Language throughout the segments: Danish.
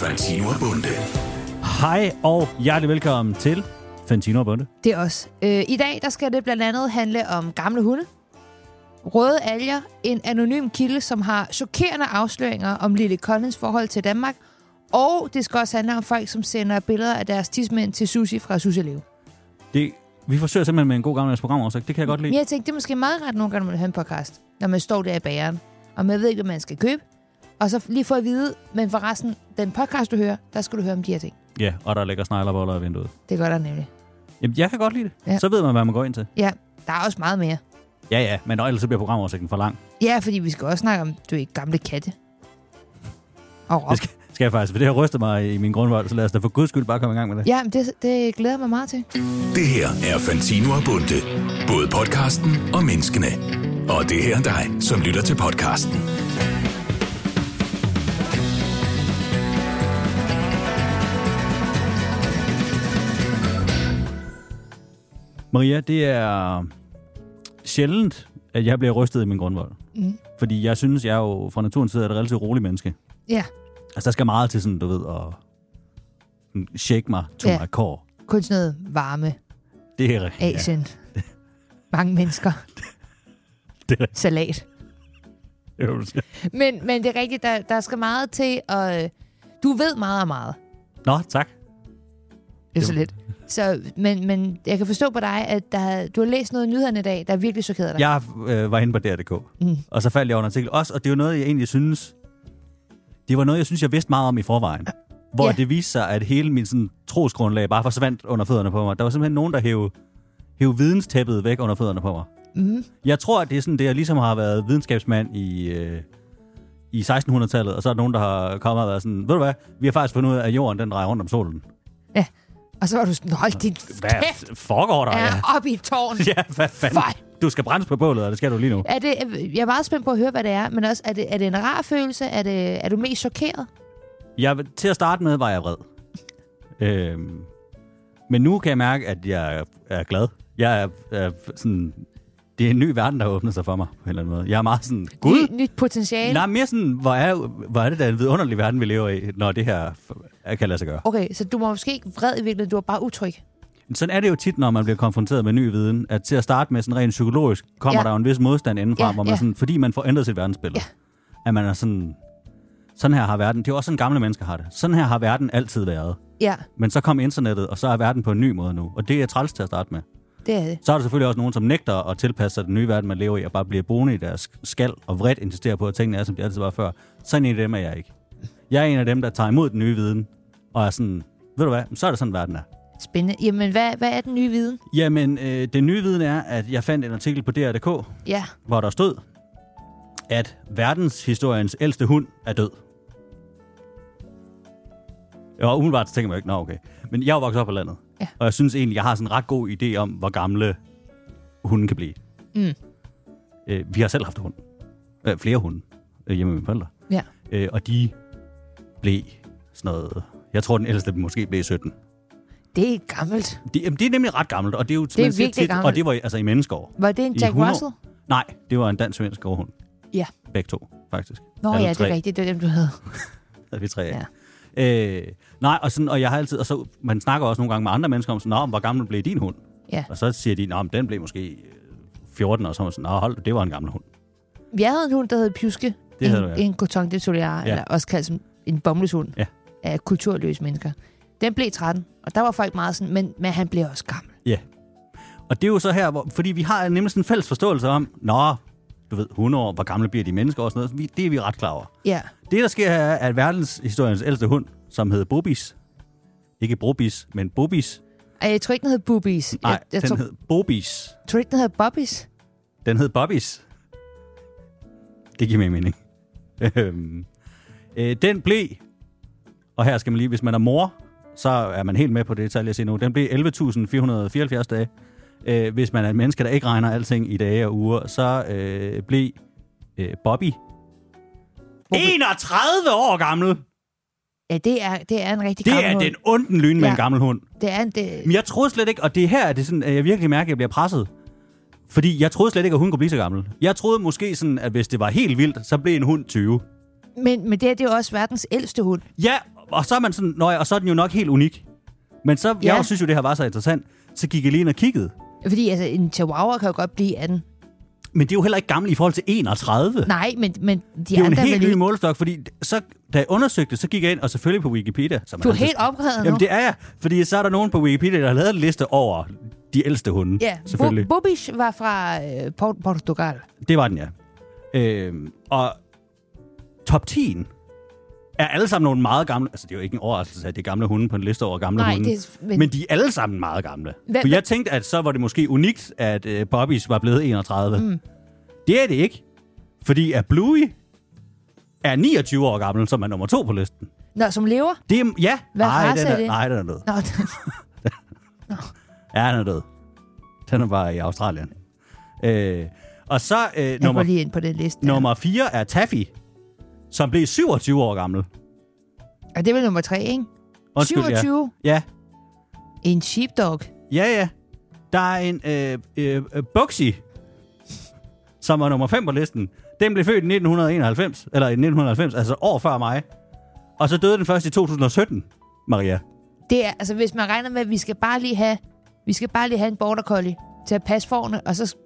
Fantino og Bunde. Hej og hjertelig velkommen til Fantino og Bunde. Det er os. Øh, I dag der skal det blandt andet handle om gamle hunde, røde alger, en anonym kilde, som har chokerende afsløringer om Lille Collins forhold til Danmark, og det skal også handle om folk, som sender billeder af deres tidsmænd til Susi fra Susi Leve. Det, vi forsøger simpelthen med en god gammeldags programoversigt. Det kan jeg godt lide. Men jeg tænkte, det er måske meget ret nogle gange, når man hører en podcast, når man står der i bageren, og man ved ikke, hvad man skal købe, og så lige få at vide, men forresten, den podcast, du hører, der skal du høre om de her ting. Ja, og der ligger sneglerboller i vinduet. Det gør der nemlig. Jamen, jeg kan godt lide det. Ja. Så ved man, hvad man går ind til. Ja, der er også meget mere. Ja, ja, men ellers så bliver programoversigten for lang. Ja, fordi vi skal også snakke om, du er gamle katte. Og rock. Det skal, skal jeg faktisk, for det har rystet mig i min grundvold, så lad os da for guds skyld bare komme i gang med det. Ja, men det, det glæder jeg mig meget til. Det her er Fantino og Bunde. Både podcasten og menneskene. Og det her er dig, som lytter til podcasten. Maria, det er sjældent, at jeg bliver rystet i min grundvold. Mm. Fordi jeg synes, jeg er jo fra naturens side er et relativt roligt menneske. Ja, Altså, der skal meget til sådan, du ved, at sådan shake mig to Ja. my core. kun sådan noget varme, Det er rigtigt. Asien, ja. mange mennesker, det er salat. Ja, det er jo, du siger. Men, men det er rigtigt, der, der skal meget til, og øh, du ved meget og meget. Nå, tak. Det er så Jo. lidt. Så, men, men jeg kan forstå på dig, at der, du har læst noget i nyhederne i dag, der virkelig chokerede dig. Jeg øh, var inde på DR.dk, mm. Mm. og så faldt jeg over en artikel også, og det var noget, jeg egentlig synes, det var noget, jeg synes, jeg vidste meget om i forvejen. Hvor Ja. det viste sig, at hele min sådan, trosgrundlag bare forsvandt under fødderne på mig. Der var simpelthen nogen, der hævde, hævde videnstæppet væk under fødderne på mig. Mm. Jeg tror, at det er sådan, det jeg ligesom har været videnskabsmand i, øh, i 1600-tallet, og så er der nogen, der har kommet og været sådan, ved du hvad, vi har faktisk fundet ud af, at jorden den drejer rundt om solen. Og så var du sådan, hold din Hvad kæft, f- foregår der? er Ja. oppe i et tårn. ja, hvad fanden? Fej. Du skal brændes på bålet, og det skal du lige nu. Er det, øh, jeg er meget spændt på at høre, hvad det er, men også, er det, er det en rar følelse? Er, det, er du mest chokeret? Jeg, til at starte med var jeg vred. Øhm, men nu kan jeg mærke, at jeg er- er glad. Jeg er, er sådan... Det er en ny verden, der har åbnet sig for mig på en eller anden måde. Jeg er meget sådan... Gud! Ny, nyt potentiale? Nej, mere sådan, hvor er, hvor er det da en vidunderlig verden, vi lever i, når det her f- kan lade sig gøre. Okay, så du var måske ikke vred i virkeligheden, du var bare utryg. Sådan er det jo tit, når man bliver konfronteret med ny viden, at til at starte med sådan rent psykologisk, kommer ja. Ja. der jo en vis modstand indenfra, ja, Ja, hvor man ja. ja. sådan, fordi man får ændret sit verdensbillede. Ja. At man er sådan, sådan her har verden, det er jo også sådan gamle mennesker har det, sådan her har verden altid været. Ja, Men så kom internettet, og så er verden på en ny måde nu. Og det er træls til at starte med. det er det. Så er der selvfølgelig også nogen, som nægter at tilpasse sig den nye verden, man lever i, og bare bliver boende i deres skal og vredt insisterer på, at tingene er, som de altid var før. Sådan en af dem er jeg ikke. Jeg er en af dem, der tager imod den nye viden, og er sådan, ved du hvad, så er det sådan, verden er. Spændende. Jamen, hvad, hvad er den nye viden? Jamen, øh, den nye viden er, at jeg fandt en artikel på DR.dk, Ja. hvor der stod, at verdenshistoriens ældste hund er død. Og umiddelbart så tænker man jo ikke, nå okay. Men jeg er jo vokset op på landet. Ja. Og jeg synes egentlig, jeg har sådan en ret god idé om, hvor gamle hunden kan blive. Mm. Øh, vi har selv haft hund. Øh, flere hunde øh, hjemme med mine forældre. Ja. Øh, og de blev sådan noget... Jeg tror, den ældste måske blev 17. Det er gammelt. Det, jamen, det er nemlig ret gammelt, og det er jo... man siger virkelig gammelt. Og det var altså i menneskeår. Var det en I Jack 100 Russell? Nej, det var en dansk-svensk gårdhund. Ja. Begge to, faktisk. Nå Alle ja, det tre. er rigtigt. Det var dem, du havde. Havde vi tre af. Ja. Øh, nej, og, sådan, og jeg har altid... Og så, man snakker også nogle gange med andre mennesker om, sådan, "Nå, men hvor gammel blev din hund? Ja. Og så siger de, "Nå, men den blev måske øh, 14, og så er man sådan, Nå, hold, det var en gammel hund. Jeg havde en hund, der hed Pjuske. Det havde en, du, ja. En coton de Soliar, Ja. ja. eller også kaldt som en bomleshund Ja. af kulturløse mennesker. Den blev 13, og der var folk meget sådan, men, men han blev også gammel. Og det er jo så her, hvor, fordi vi har nemlig sådan en fælles forståelse om, Nå, du ved, 100 år, hvor gamle bliver de mennesker og sådan noget. Vi, det er vi ret klar over. Ja. Det, der sker, her, er, at verdenshistoriens ældste hund, som hed Bobis, ikke Brobis, men Bobis, Og jeg tror ikke, den hed Boobies. nej, jeg, jeg den tror, hed Bobis, tror ikke, den hed Bobbies. Den hed Bobbies. Det giver mere mening. Øhm, øh, den blev, og her skal man lige, hvis man er mor, så er man helt med på det tal, jeg siger nu. Den blev 11.474 dage. Øh, hvis man er et menneske, der ikke regner alting i dage og uger, så øh, blev øh, Bobby 31 år gammel. Ja, det er, det er en rigtig Det gammel er hund. den onden lyn med Ja. en gammel hund. Det er en... Det, Men jeg troede slet ikke, og det er her, det er sådan, at jeg virkelig mærker, at jeg bliver presset. Fordi jeg troede slet ikke, at hun kunne blive så gammel. Jeg troede måske sådan, at hvis det var helt vildt, så blev en hund 20. men, men det, her, det er jo også verdens ældste hund. Ja, og så er man sådan, Nå, ja, og så er den jo nok helt unik. Men så, ja. Ja. jeg synes jo, det her var så interessant, så gik jeg lige ind og kiggede. Fordi altså, en chihuahua kan jo godt blive 18. Men det er jo heller ikke gamle i forhold til 31. Nej, men, men de det er jo en andre... er helt vel ny ikke- målestok, fordi så, da jeg undersøgte, så gik jeg ind, og selvfølgelig på Wikipedia. Som Du man er altid helt skal. opredet nu. Altså, Jamen det er jeg, fordi så er der nogen på Wikipedia, der har lavet en liste over de ældste hunde, Ja, selvfølgelig. Bo- Bobish var fra øh, Port- Portugal. Det var den, ja. Øhm, og top 10 er alle sammen nogle meget gamle... Altså, det er jo ikke en overraskelse, at det er gamle hunde på en liste over gamle Nej, hunde. det er- men... men- men de er alle sammen meget gamle. Hvem- For jeg tænkte, at så var det måske unikt, at øh, Bobby's var blevet 31. Mm. Det er det ikke. Fordi at Bluey er 29 år gammel, som er nummer to på listen. Nå, som lever? Det er... Ja. Hvad nej, race den er er, det? Nej, den er død. Nå, Ja, den er død. Den er bare i Australien. Øh, og så øh, jeg går nummer lige ind på den liste. Nummer 4 er Taffy, som blev 27 år gammel. Og det er vel nummer 3, ikke? Undskyld, 27. Ja. En sheepdog. ja, ja, ja. Der er en øh, øh, øh, Buxy, som var nummer 5 på listen. Den blev født i 1991, eller i 1990, altså år før mig. Og så døde den først i 2017, Maria. Det er, altså hvis man regner med, at vi skal bare lige have, vi skal bare lige have en border collie til at passe forne, og så s-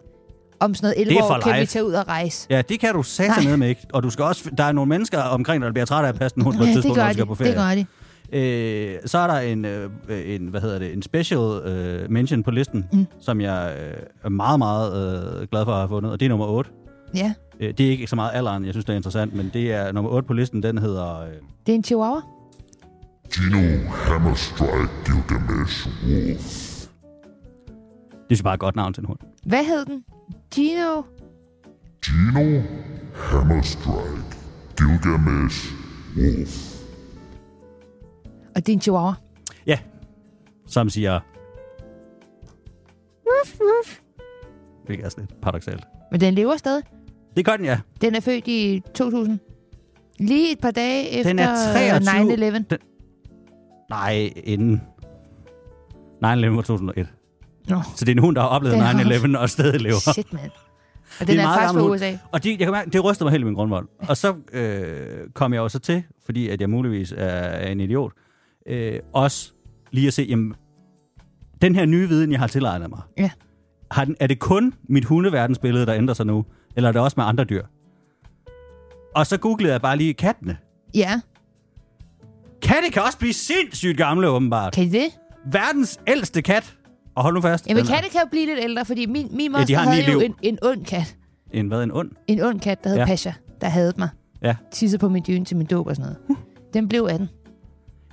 om sådan noget 11 Det er år for kan life. vi tage ud og rejse. Ja, det kan du sætte Nej. ned med ikke. Og du skal også, der er nogle mennesker omkring dig, der bliver trætte af at passe den hund på et det tidspunkt, når gør du skal de. på ferie. Det gør de. Øh, så er der en, øh, øh, en, hvad hedder det, en special øh, mention på listen, mm. som jeg øh, er meget, meget øh, glad for at have fundet, og det er nummer 8. Ja. Øh, det er ikke så meget alderen, jeg synes, det er interessant, men det er nummer 8 på listen, den hedder... Øh, Det er en chihuahua. Gino Hammerstrike Gilgamesh Wolf. det synes jeg bare er et godt navn til en hund. Hvad hed den? Gino? Gino Hammerstrike Gilgamesh Wolf. Og det er en chihuahua. Ja, som siger... Woof, woof. Hvilket er sådan lidt paradoxalt. Men den lever stadig. Det gør den, ja. Den er født i 2000. Lige et par dage efter Den er 23. øh, 9-11. Den... Nej, inden... 9-11 var 2001. Nå, Så det er en hund, der har oplevet Den har- 9-11 og stadig lever. shit, mand. Og den er, er faktisk gammel fra hund. USA. Og det, jeg kan mærke, det rystede mig helt i min grundvold. Og så øh, kom jeg jo så til, fordi at jeg muligvis er, er en idiot, øh, også lige at se, jamen, den her nye viden, jeg har tilegnet mig, Ja. har den, er det kun mit hundeverdensbillede, der ændrer sig nu, eller er det også med andre dyr? Og så googlede jeg bare lige kattene. Ja, Katte kan også blive sindssygt gamle, åbenbart. kan de det? Verdens ældste kat. Og hold nu fast. Jamen, den er- katte kan jo blive lidt ældre, fordi min, min Ja, de moster ja, har en havde lille jo liv. en, en ond kat. En hvad, en ond? En ond kat, der hed Ja. ja. Pasha, der havde mig. Ja. Tissede på min dyne til min dåb og sådan noget. Den blev 18.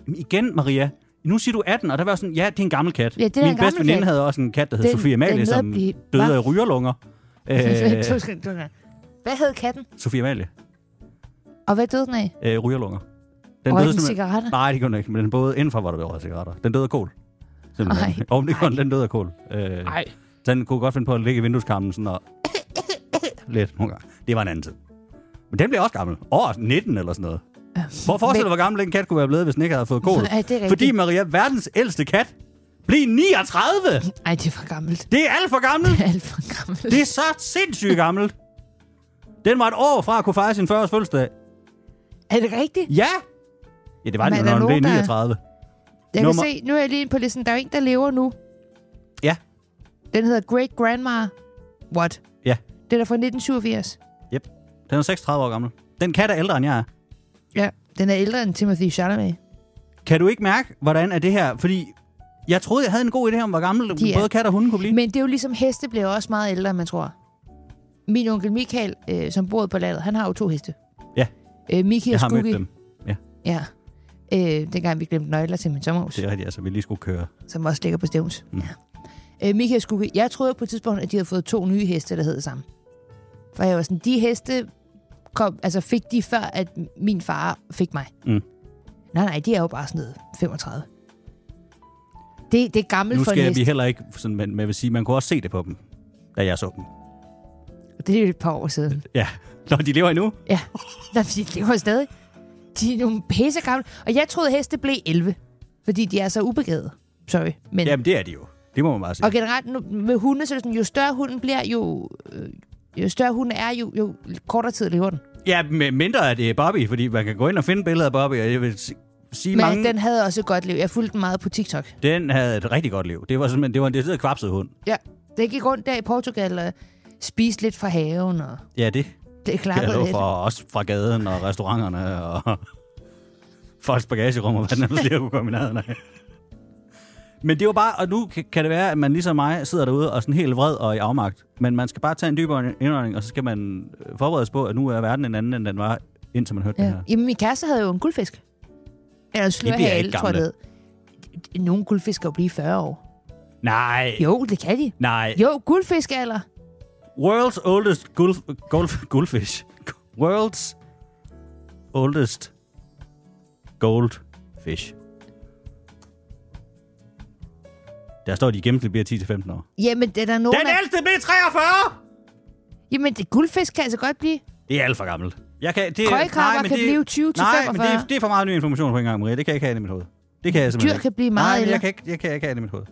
Jamen igen, Maria. Nu siger du 18, og der var jeg sådan, ja, det er en gammel kat. Ja, det er Min en gammel bedste veninde kat. havde også en kat, der hed Den- Sofie den Amalie, nåede som at blive- døde Hva? af rygerlunger. Øh. Øh, Hvad hed katten? Sofie Amalie, Og hvad døde den af? øh, rygerlunger. Røg den simpelthen- cigaretter? Nej, det gjorde den ikke, men den både indenfor var der røget cigaretter. Den døde af kål. Simpelthen. Ej. Ej. Om det kun, den døde af kål. Øh, Nej. den kunne godt finde på at ligge i vindueskarmen sådan og... Lidt nogle gange. Det var en anden tid. Men den blev også gammel. År 19 eller sådan noget. Prøv at forestille dig, hvor gammel den kat kunne være blevet, hvis den ikke havde fået kål. Ja, det er rigtigt. Fordi Maria, verdens ældste kat, blev 39! Ej, det er for gammelt. Det er alt for gammelt. Det er alt for gammelt. Det er så sindssygt gammelt. Den var et år fra at kunne fejre sin 40-års fødselsdag. Er det rigtigt? Ja! Ja, det var Men er den, der når den blev nogen, der- 39. Jeg Nummer- kan se, nu er jeg lige inde på listen. Der er jo en, der lever nu. Ja. Den hedder Great Grandma. What? Ja. Den er fra 1987. Yep. Den er 36 år gammel. Den kat er ældre, end jeg er. Ja. Den er ældre end Timothy Chalamet. Kan du ikke mærke, hvordan er det her? Fordi jeg troede, jeg havde en god idé om, hvor gammel De er- både kat og hunde kunne blive. Men... Men det er jo ligesom, heste bliver også meget ældre, end man tror. Min onkel Michael, øh, som bor på landet, han har jo to heste. Ja. Øh, Miki Jeg og har Skugge. mødt dem. Ja. Øh, dengang vi glemte nøgler til min sommerhus, Det ja. er rigtigt, altså vi lige skulle køre. som også ligger på Stævns. Mm. Ja. Øh, Miki og Skugge, jeg troede på et tidspunkt, at de havde fået to nye heste, der hed det samme. For jeg var sådan, de heste kom, altså fik de før, at min far fik mig. Mm. Nej, nej, de er jo bare sådan noget 35. Det, det er gammelt Nu for en skal hest. vi heller ikke, sådan, men, men jeg vil sige, man kunne også se det på dem, da jeg så dem. Det er jo et par år siden. Ja. Når de lever endnu. Ja, Nå, de lever stadig. De er nogle pisse gamle. Og jeg troede, heste blev 11, fordi de er så ubegavede. Sorry. Men, Jamen, det er de jo. Det må man bare sige. og generelt nu, med hunde, så er det sådan, jo større hunden bliver, jo, øh, jo større hunden er, jo, jo kortere tid lever den. Ja, med mindre at det er Bobby, fordi man kan gå ind og finde billeder af Bobby, og jeg vil s- sige Men mange... den havde også et godt liv. Jeg fulgte den meget på TikTok. den havde et rigtig godt liv. Det var simpelthen det var en decideret kvapset hund. Ja. Det gik rundt der i Portugal og spiste lidt fra haven, og Ja, det det kan jeg klappede love lidt. for. Også fra gaden og restauranterne og folks bagagerum og hvad den ellers lige kunne komme i nærheden af. Men det var bare, og nu kan- kan det være, at man ligesom mig sidder derude og er sådan helt vred og i afmagt. Men man skal bare tage en dybere indånding, og så skal man øh, forberede sig på, at nu er verden en anden, end den var, indtil man hørte ja. Ja. det her. Jamen, min kæreste havde jo en guldfisk. Eller en bliver slørhale, ikke tror jeg det gamle. hed. Nogle guldfisk kan jo blive 40 år. Nej, Jo, det kan de. nej. Jo, guldfiskalder. World's oldest gulf, golf, goldfish. World's oldest goldfish. Der står, at de i gennemsnit bliver 10-15 år. Jamen, det er der nogen... Den af- ældste blev 43! Jamen, det, guldfisk kan altså godt blive... Det er alt for gammelt. Jeg kan, det, Krøjkrabber kan blive 20 til Nej, men 45. det, er- det er for meget ny information på en gang, Maria. Det kan jeg ikke have i mit hoved. Det kan jeg simpelthen Dyr ikke. kan blive meget Nej, men ældre. jeg kan, ikke, jeg kan ikke have det i mit hoved.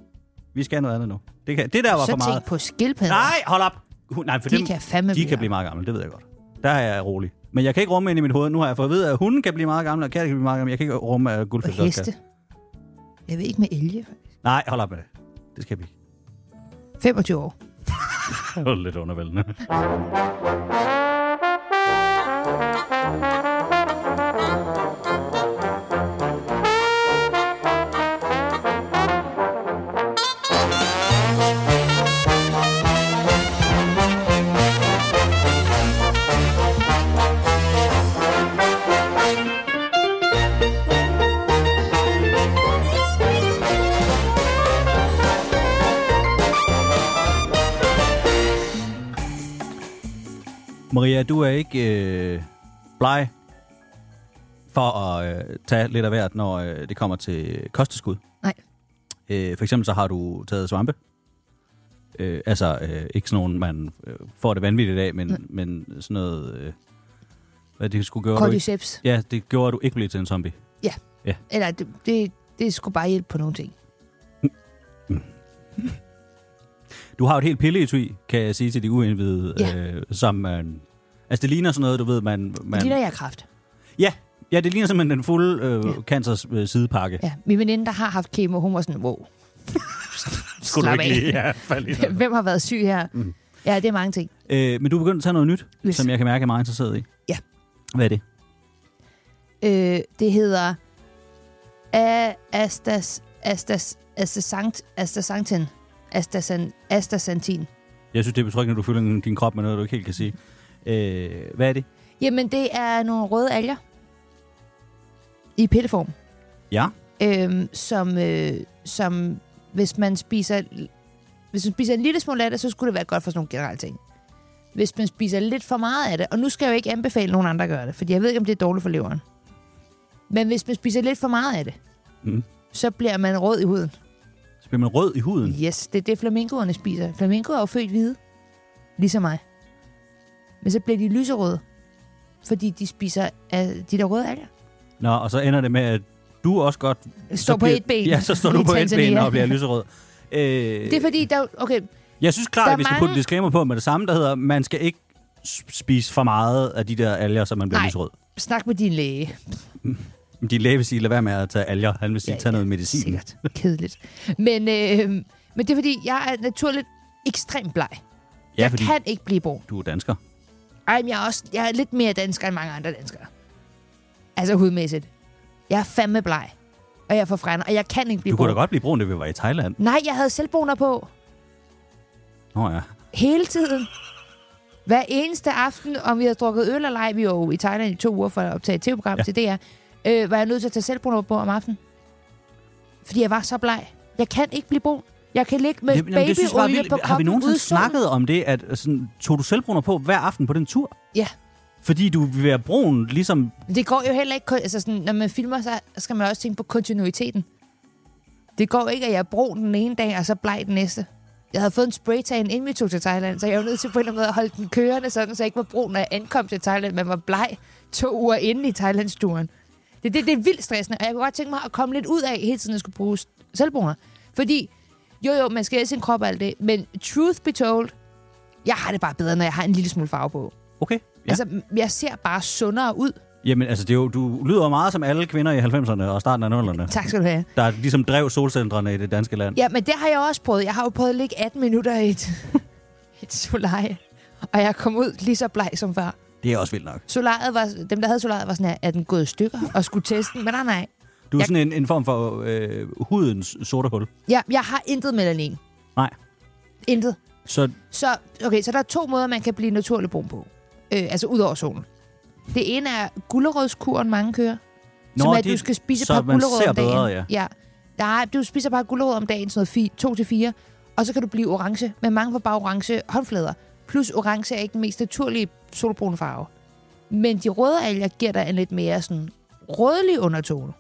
Vi skal have noget andet nu. Det, kan, det der var Så for meget. tænk på skildpadder. Nej, hold op. Hun- Nej, for Altså- De dem, kan fandme de blive kan blive meget gamle, det ved jeg godt. Der er jeg rolig. Men jeg kan ikke rumme ind i mit hoved. Nu har jeg fået at vide, at hunden kan blive meget gammel, og katte kan blive meget gammel. Jeg kan ikke rumme, at Og guldfisk også heste. kan. Jeg ved ikke med elge. Nej, hold op med det. Det skal vi ikke. 25 år. Det var lidt undervældende. Maria, du er ikke øh, bleg for at øh, tage lidt af hvert, når øh, det kommer til kosteskud. Nej. Øh, for eksempel så har du taget svampe. Øh, altså øh, ikke sådan nogen, man øh, får det vanvittigt af, men, Mm. men sådan noget... Øh, hvad det skulle gøre, du ikke? Cordyceps. Ja, det gjorde, at du ikke blev til en zombie. Eller det, det, det skulle bare hjælpe på nogle ting. Du har jo et helt pilleetui, kan jeg sige til de uindvidede, Ja. øh, som man... Altså, det ligner sådan noget, du ved, man... man Men... Ligner jeg kraft? Ja, ja, det ligner simpelthen den fulde øh, ja. cancers øh, sidepakke. Ja. Min veninde, der har haft kemo, hun var sådan, wow. Skulle Slap du ikke lige, ja, fald i noget. Hvem har været syg her? Mm. Ja, det er mange ting. øh, Men du er begyndt at tage noget nyt, yes. Yes. som jeg kan mærke, er meget interesseret i. Ja. Hvad er det? Øh, det hedder A- Astas, Astas, Astasankt, Astasankten. Astasan, Astasantin. Jeg synes, det er betryggende, at du fylder din- din krop med noget, du ikke helt kan sige. Øh, hvad er det? Jamen, det er nogle røde alger. I pilleform. Ja. øh, som, øh, som hvis man spiser hvis man spiser en lille smule af det, så skulle det være godt for sådan nogle generelle ting. Hvis man spiser lidt for meget af det, og nu skal jeg jo ikke anbefale nogen andre at gøre det, fordi jeg ved ikke, om det er dårligt for leveren. Men hvis man spiser lidt for meget af det, Mm. så bliver man rød i huden. Så bliver man rød i huden. Yes, det er det, flamingoerne spiser. Flamingoer er jo født hvide, ligesom mig. Men så bliver de lyserøde, fordi de spiser af de der røde alger. Nå, og så ender det med, at du også godt... Står så på bliver- et ben. Ja, så står i du på et ben Tanzania. og bliver lyserød. Øh, Det er fordi, der... Okay, Jeg synes klart, Der er at vi skal mange- putte en disclaimer på med det samme, der hedder, man skal ikke s- spise for meget af de der alger, så man bliver Nej. lyserød. snak med din læge. Men De læge vil sige, lad være med at tage alger. Han vil sige, ja, tage noget medicin. Sikkert. Kedeligt. Men, øh, men det er, fordi jeg er naturligt ekstremt bleg. Ja, jeg fordi kan ikke blive brun. du er dansker. Ej, men jeg er, også, jeg er lidt mere dansker end mange andre danskere. Altså hudmæssigt. Jeg er fandme bleg. Og jeg er forfregner, og jeg kan ikke blive Du brun. kunne da godt blive brun, da vi var i Thailand. Nej, jeg havde selvbruner på. Nå Øh, ja. Hele tiden. Hver eneste aften, om vi havde drukket øl eller ej, vi var jo i Thailand i to uger for at optage et tv-program Ja. ja. til DR, øh, var jeg nødt til at tage selvbruner på om aftenen. Fordi jeg var så bleg. Jeg kan ikke blive brun. Jeg kan ligge med Jamen, jamen, det synes jeg bare babyolie vildt. på Har vi kroppen ude nogensinde i solen. snakket om det, at øh, sådan, tog du selvbruner på hver aften på den tur? Ja. Fordi du vil være brun, ligesom... Det går jo heller ikke... kun- Altså sådan, når man filmer, så skal man også tænke på kontinuiteten. Det går ikke, at jeg er brun den ene dag, og så bleg den næste. Jeg havde fået en spraytan, inden vi tog til Thailand, så jeg var nødt til på en eller anden måde at holde den kørende, sådan, så jeg ikke var brun, når jeg ankom til Thailand, men var bleg to uger inde i Thailandsturen. Det, det, det er vildt stressende, og jeg kunne godt tænke mig at komme lidt ud af, hele tiden at skulle bruge s- selvbruner. Fordi, jo jo, man skal elske sin krop og alt det, men truth be told, jeg har det bare bedre, når jeg har en lille smule farve på. Okay. Ja. Ja. Altså, m- jeg ser bare sundere ud. Jamen, altså, det er jo, du lyder jo meget som alle kvinder i 90'erne og starten af 00'erne, Tak skal du have. der ligesom drev solcentrene i det danske land. Ja, men det har jeg også prøvet. Jeg har jo prøvet at ligge 18 minutter i et, et solarie. Og jeg kom ud lige så bleg som før. Det er også vildt nok. Solariet var, dem, der havde solariet, var sådan her, er den gået i stykker og skulle teste den? Men nej, nej. Du er Jeg- sådan en, en form for øh, hudens sorte hul. Ja, jeg har intet melanin. Nej. Intet. Så Så, okay, så der er to måder, man kan blive naturlig brun på. Øh, altså ud over solen. Det ene er gulerødskuren, mange kører. Nå, som er, at det- du skal spise et så par man gulerødder ser om dagen. bedre, ja. ja. Nej, du spiser bare gulerødder om dagen, sådan noget 2 til 4, og så kan du blive orange, men mange får bare orange håndflader. Plus orange er ikke den mest naturlige solbrune farve. Men de røde alger giver dig en lidt mere sådan rødlig undertone.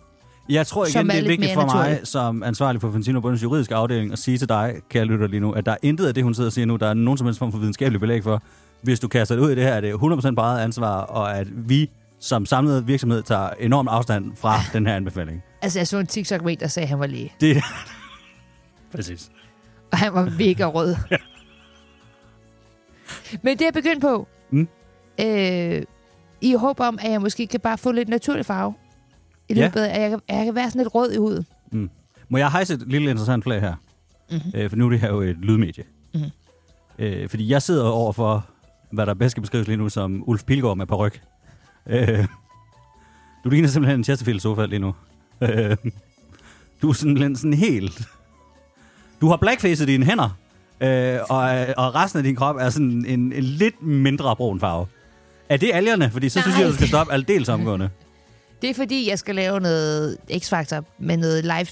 Jeg tror igen, Som er det er lidt vigtigt mere for mig naturlig. som ansvarlig for Fantino Bundes juridiske afdeling at sige til dig, kære lytter lige nu, at der er intet af det, hun sidder og siger nu, der er nogen som helst form for videnskabelig belæg for. Hvis du kaster det ud i det her, er det 100% bare eget ansvar, og at vi som samlet virksomhed tager enorm afstand fra den her anbefaling. Altså, jeg så en TikTok med en, der sagde, at han var læge, Det Præcis. og han var mega rød. Men det er jeg begyndt på. Mm. Øh, I håb om, at jeg måske kan bare få lidt naturlig farve. I Ja. løbet af, at jeg, kan- at jeg kan være sådan lidt rød i huden. Må jeg hejse et lille interessant flag her? Mm-hmm. Øh, for nu er det her jo et lydmedie. Mhm. Mm-hmm. Øh, fordi jeg sidder over for, hvad der bedst kan beskrives lige nu som Ulf Pilgaard med paryk. Øh, du ligner simpelthen en Chesterfield-sofa lige nu. Øh, du er simpelthen sådan helt... Du har blackfacet dine hænder, øh, og, og resten af din krop er sådan en, en lidt mindre brun farve. Er det algerne? Fordi så Nej. synes Nej. jeg, du skal stoppe aldeles omgående. Det er fordi, jeg skal lave noget X-Factor med noget live,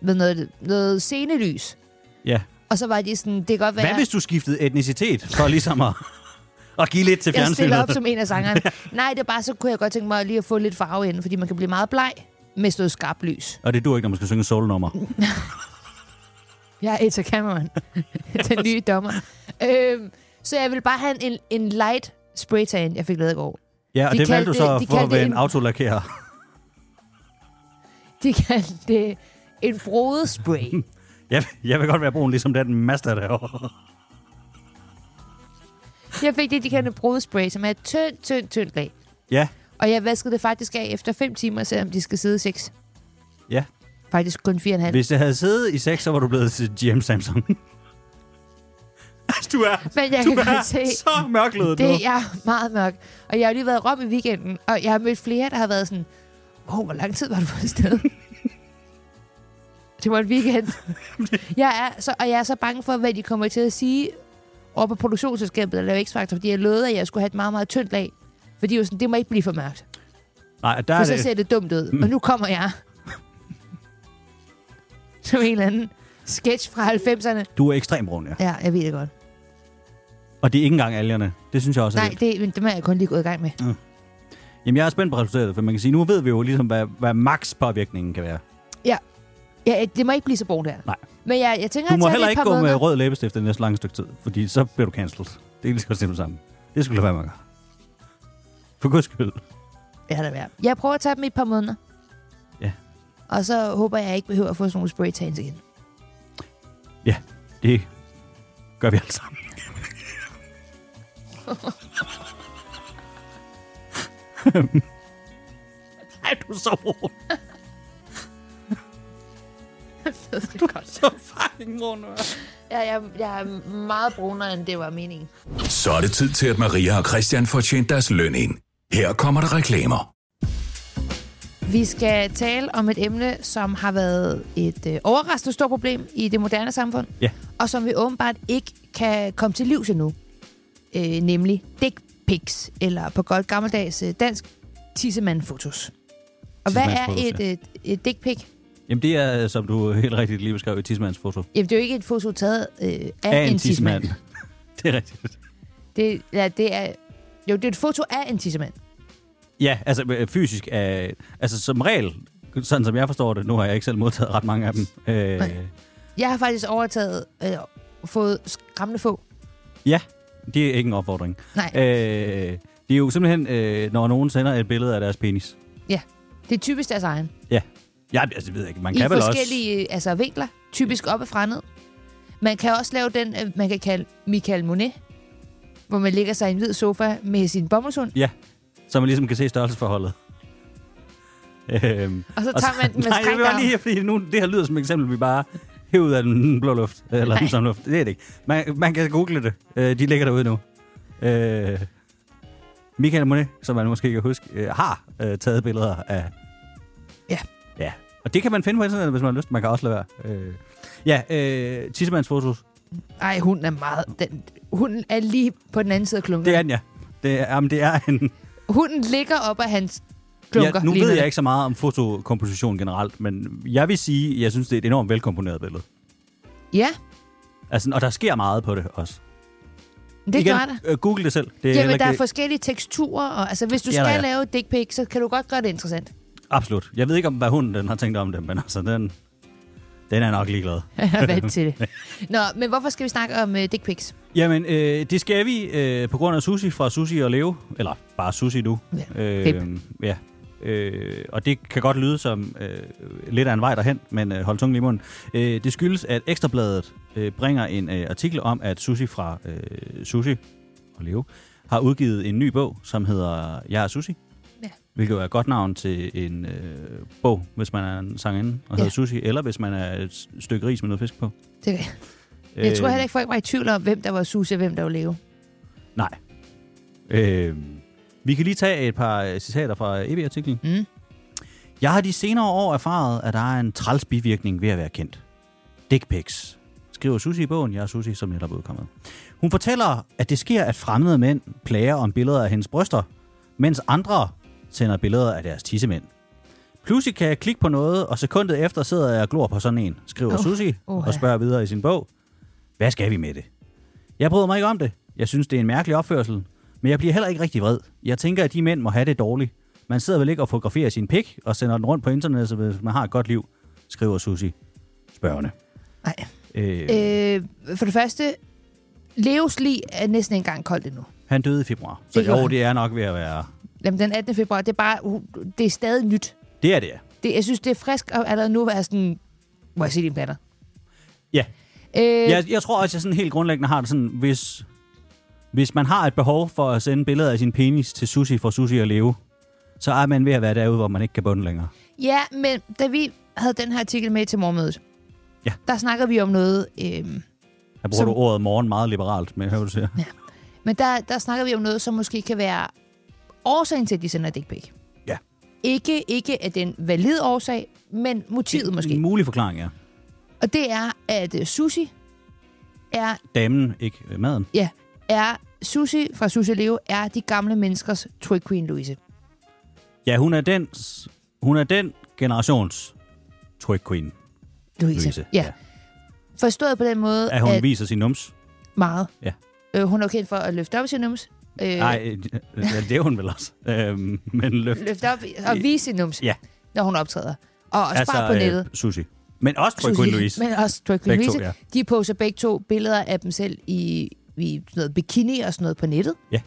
med noget, noget scenelys. Ja. Og så var de sådan, det kan godt være, Hvad hvis du skiftede etnicitet for ligesom at, at give lidt til jeg fjernsynet? stiller op som en af sangerne. Nej, det er bare, så kunne jeg godt tænke mig lige at få lidt farve ind, fordi man kan blive meget bleg med sådan noget skarpt lys. Og det dur ikke, når man skal synge solnummer. Jeg er Eta Cameron, den nye dommer. Øhm, så jeg vil bare have en, en light spraytan, jeg fik lavet i går. Ja, og De det valgte du kaldte- så de for at kaldte være en en- autolakerer. De kaldte det en broet spray. Jeg, jeg vil godt være brun, ligesom den master derovre. Jeg fik det, de kaldte en broet spray, som er et tyndt, tyndt, tyndt lag. Ja, Og jeg vaskede det faktisk af efter 5 timer, selvom de skal sidde 6. ja. Faktisk kun 4,5. Hvis det havde siddet i sex, så var du blevet til GM Samsung. Altså, du er, Men jeg du kan er godt se, så mørklødet nu. det er meget mørkt. Og jeg har lige været rom i weekenden, og jeg har mødt flere, der har været sådan, wow, hvor lang tid var du på et sted? det var en weekend. jeg er så, og jeg er så bange for, hvad de kommer til at sige over på produktionsselskabet eller X-Factor, fordi jeg lovede, at jeg skulle have et meget, meget tyndt lag. Fordi de var sådan, det må ikke blive for mørkt, Nej, der for er så det. ser det dumt ud. Og nu kommer jeg. Som en eller anden sketch fra 90'erne. Du er ekstremt brun, ja. Ja, jeg ved det godt. Og det er ikke engang algerne. Det synes jeg også er Nej, lidt. det, men dem er jeg kun lige gået i gang med. Jamen, jeg er spændt på resultatet, for man kan sige, nu ved vi jo ligesom, hvad, hvad max påvirkningen kan være. Ja, det må ikke blive så brugt der. Nej. Men jeg, jeg tænker, Du at må tage heller lige et ikke par gå måneder. med rød læbestift det næste lange stykke tid, fordi så bliver du cancelled. Det er lige så godt simpelthen sammen. Det skulle du lade være med at gøre. For guds skyld. Ja, det er værd. Jeg prøver at tage dem i et par måneder. Ja. Og så håber jeg, jeg ikke behøver at få sådan nogle spraytans igen. Ja, det gør vi alle sammen. Ej, du er så brun. det er godt. Så fucking brun, du er. Ja, jeg, jeg er meget brunere, end det var meningen. Så er det tid til, at Maria og Christian får tjent deres løn ind. Her kommer der reklamer. Vi skal tale om et emne, som har været et øh, overraskende stort problem i det moderne samfund. Ja. Og som vi åbenbart ikke kan komme til livs endnu. Øh, nemlig dick pics, eller på godt gammeldags øh, dansk, tissemand-fotos. Og hvad er Tissemandsfotos, et, et, øh, et dick pic? Jamen, det er, som du helt rigtigt lige beskrev, et tismandsfoto. Jamen, det er jo ikke et foto taget øh, af, Af en tissemand. tissemand. Det er rigtigt. Det, ja, det er, jo, det er et foto af en tissemand. Ja, altså øh, fysisk. Øh, altså som regel, sådan som jeg forstår det, nu har jeg ikke selv modtaget ret mange af dem. Øh, Nej. Jeg har faktisk overtaget, øh, fået skræmmende få. ja, det er ikke en opfordring. Nej, Øh, det er jo simpelthen, øh, når nogen sender et billede af deres penis. ja. Det er typisk deres egen. Ja, jeg altså, det ved jeg ikke. Man I kan vel også... forskellige altså, vinkler. Typisk op og fra ned. Man kan også lave den, øh, man kan kalde Michael Monet, hvor man ligger sig i en hvid sofa med sin bommelshund. Ja, så man ligesom kan se størrelsesforholdet. Øhm, Og så tager man den med Nej, jeg vil bare strengere. lige, fordi nu, det her lyder som et eksempel, vi bare hæver ud af den blå luft. øh, Eller Nej. den samme luft. Det er det ikke. Man, man kan google det. Øh, de ligger derude nu. Øh, Michael Monet, som man måske kan huske, øh, har øh, taget billeder af... Ja. Ja. Og det kan man finde på internettet, hvis man har lyst. Man kan også lade være. Øh, ja, øh, tissemands fotos. Ej, hunden er meget... Den, hunden er lige på den anden side af klunken. Det er den, ja. Det er, jamen, det er en... Hunden ligger op af hans Ja, klunker. nu lige ved nu. jeg ikke så meget om fotokomposition generelt, men jeg vil sige, at jeg synes, det er et enormt velkomponeret billede. Ja, Altså, og der sker meget på det også. det Igen, gør der. øh, Google det selv. Det er heller Jamen, ikke der er det. forskellige teksturer, og altså, hvis du Ja, der skal er. lave et dick pic, så kan du godt gøre det interessant. Absolut. Jeg ved ikke, om hvad hunden den har tænkt om det, men altså, den, den er nok ligeglad. Jeg er vant til det. Nå, men hvorfor skal vi snakke om uh, dick pics? Jamen, øh, det skal vi øh, på grund af Susi fra Susi og Leo. Eller bare Susi nu. Ja, fedt. ja. Øh, og det kan godt lyde som øh, lidt af en vej derhen, men øh, hold tungen lige i munden. Øh, det skyldes, at Ekstrabladet øh, bringer en øh, artikel om, at Susi fra øh, Susi og Leo har udgivet en ny bog, som hedder Jeg er Susi. Ja. Hvilket jo er et godt navn til en øh, bog, hvis man er en sangerinde og hedder Ja. Susi, eller hvis man er et s- stykke ris med noget fisk på. Det, jeg Øh. tror heller ikke, folk var i tvivl om, hvem der var Susie og hvem der var Leo. Nej. Øh, vi kan lige tage et par øh, citater fra EB-artiklen. Mm. Jeg har de senere år erfaret, at der er en træls bivirkning ved at være kendt. Dick pics. Skriver Susi i bogen, jeg er Susi, som netop er udkommet. Hun fortæller, at det sker, at fremmede mænd plager om billeder af hendes bryster, mens andre sender billeder af deres tissemænd. Pludselig kan jeg klikke på noget, og sekundet efter sidder jeg og glor på sådan en, skriver Oh. oh. Susi Uha. og spørger videre i sin bog. Hvad skal vi med det? Jeg bryder mig ikke om det. Jeg synes, det er en mærkelig opførsel. Men jeg bliver heller ikke rigtig vred. Jeg tænker, at de mænd må have det dårligt. Man sidder vel ikke og fotograferer sin pik og sender den rundt på internettet, så hvis man har et godt liv, skriver Susi spørgende. Nej. Øh, øh. Øh, for det første, Leos lig er næsten ikke engang koldt endnu. Han døde i februar. Så Det gjorde jo, han. det er nok ved at være... Jamen, den 18. februar, det er bare, uh, det er stadig nyt. Det er det, ja. Det, jeg synes, det er frisk at allerede nu være sådan, må jeg se dine planer? Ja. Øh, ja. Jeg, jeg tror også, jeg sådan helt grundlæggende har det sådan, hvis, hvis man har et behov for at sende billeder af sin penis til Susi for Susi at leve, så er man ved at være derude, hvor man ikke kan bunde længere. ja, men da vi havde den her artikel med til morgenmødet, Ja. der snakkede vi om noget, øh, Her bruger Som- du ordet morgen meget liberalt, men jeg hører, hvad du siger. men der, der snakkede vi om noget, som måske kan være årsagen til, at de sender dick pic. Ja. Ikke, ikke at det er en valid årsag, men motivet En måske. mulig forklaring, ja. Og det er, at øh, Susi er Damen, ikke øh, maden. Ja, er Susi fra Susi Leo er de gamle menneskers Trick Queen Louise. Ja, hun er den, hun er den generations trick queen, Louise. Louise. Ja. ja. Forstået på den måde, At hun at viser sin nums. meget. Ja. Øh, hun er jo kendt for at løfte op sin nums. Øh, Nej, øh, ja, det er hun vel også. Øhm, men løft. Løfte op og vise sin nums, Ja. når hun optræder. Og, og altså, spar på nettet. Øh, sushi. Men også trick Susie, queen Louise. Men også Drag Queen Begge to, Louise. ja. De poster begge to billeder af dem selv i, i sådan noget bikini og sådan noget på nettet. Ja.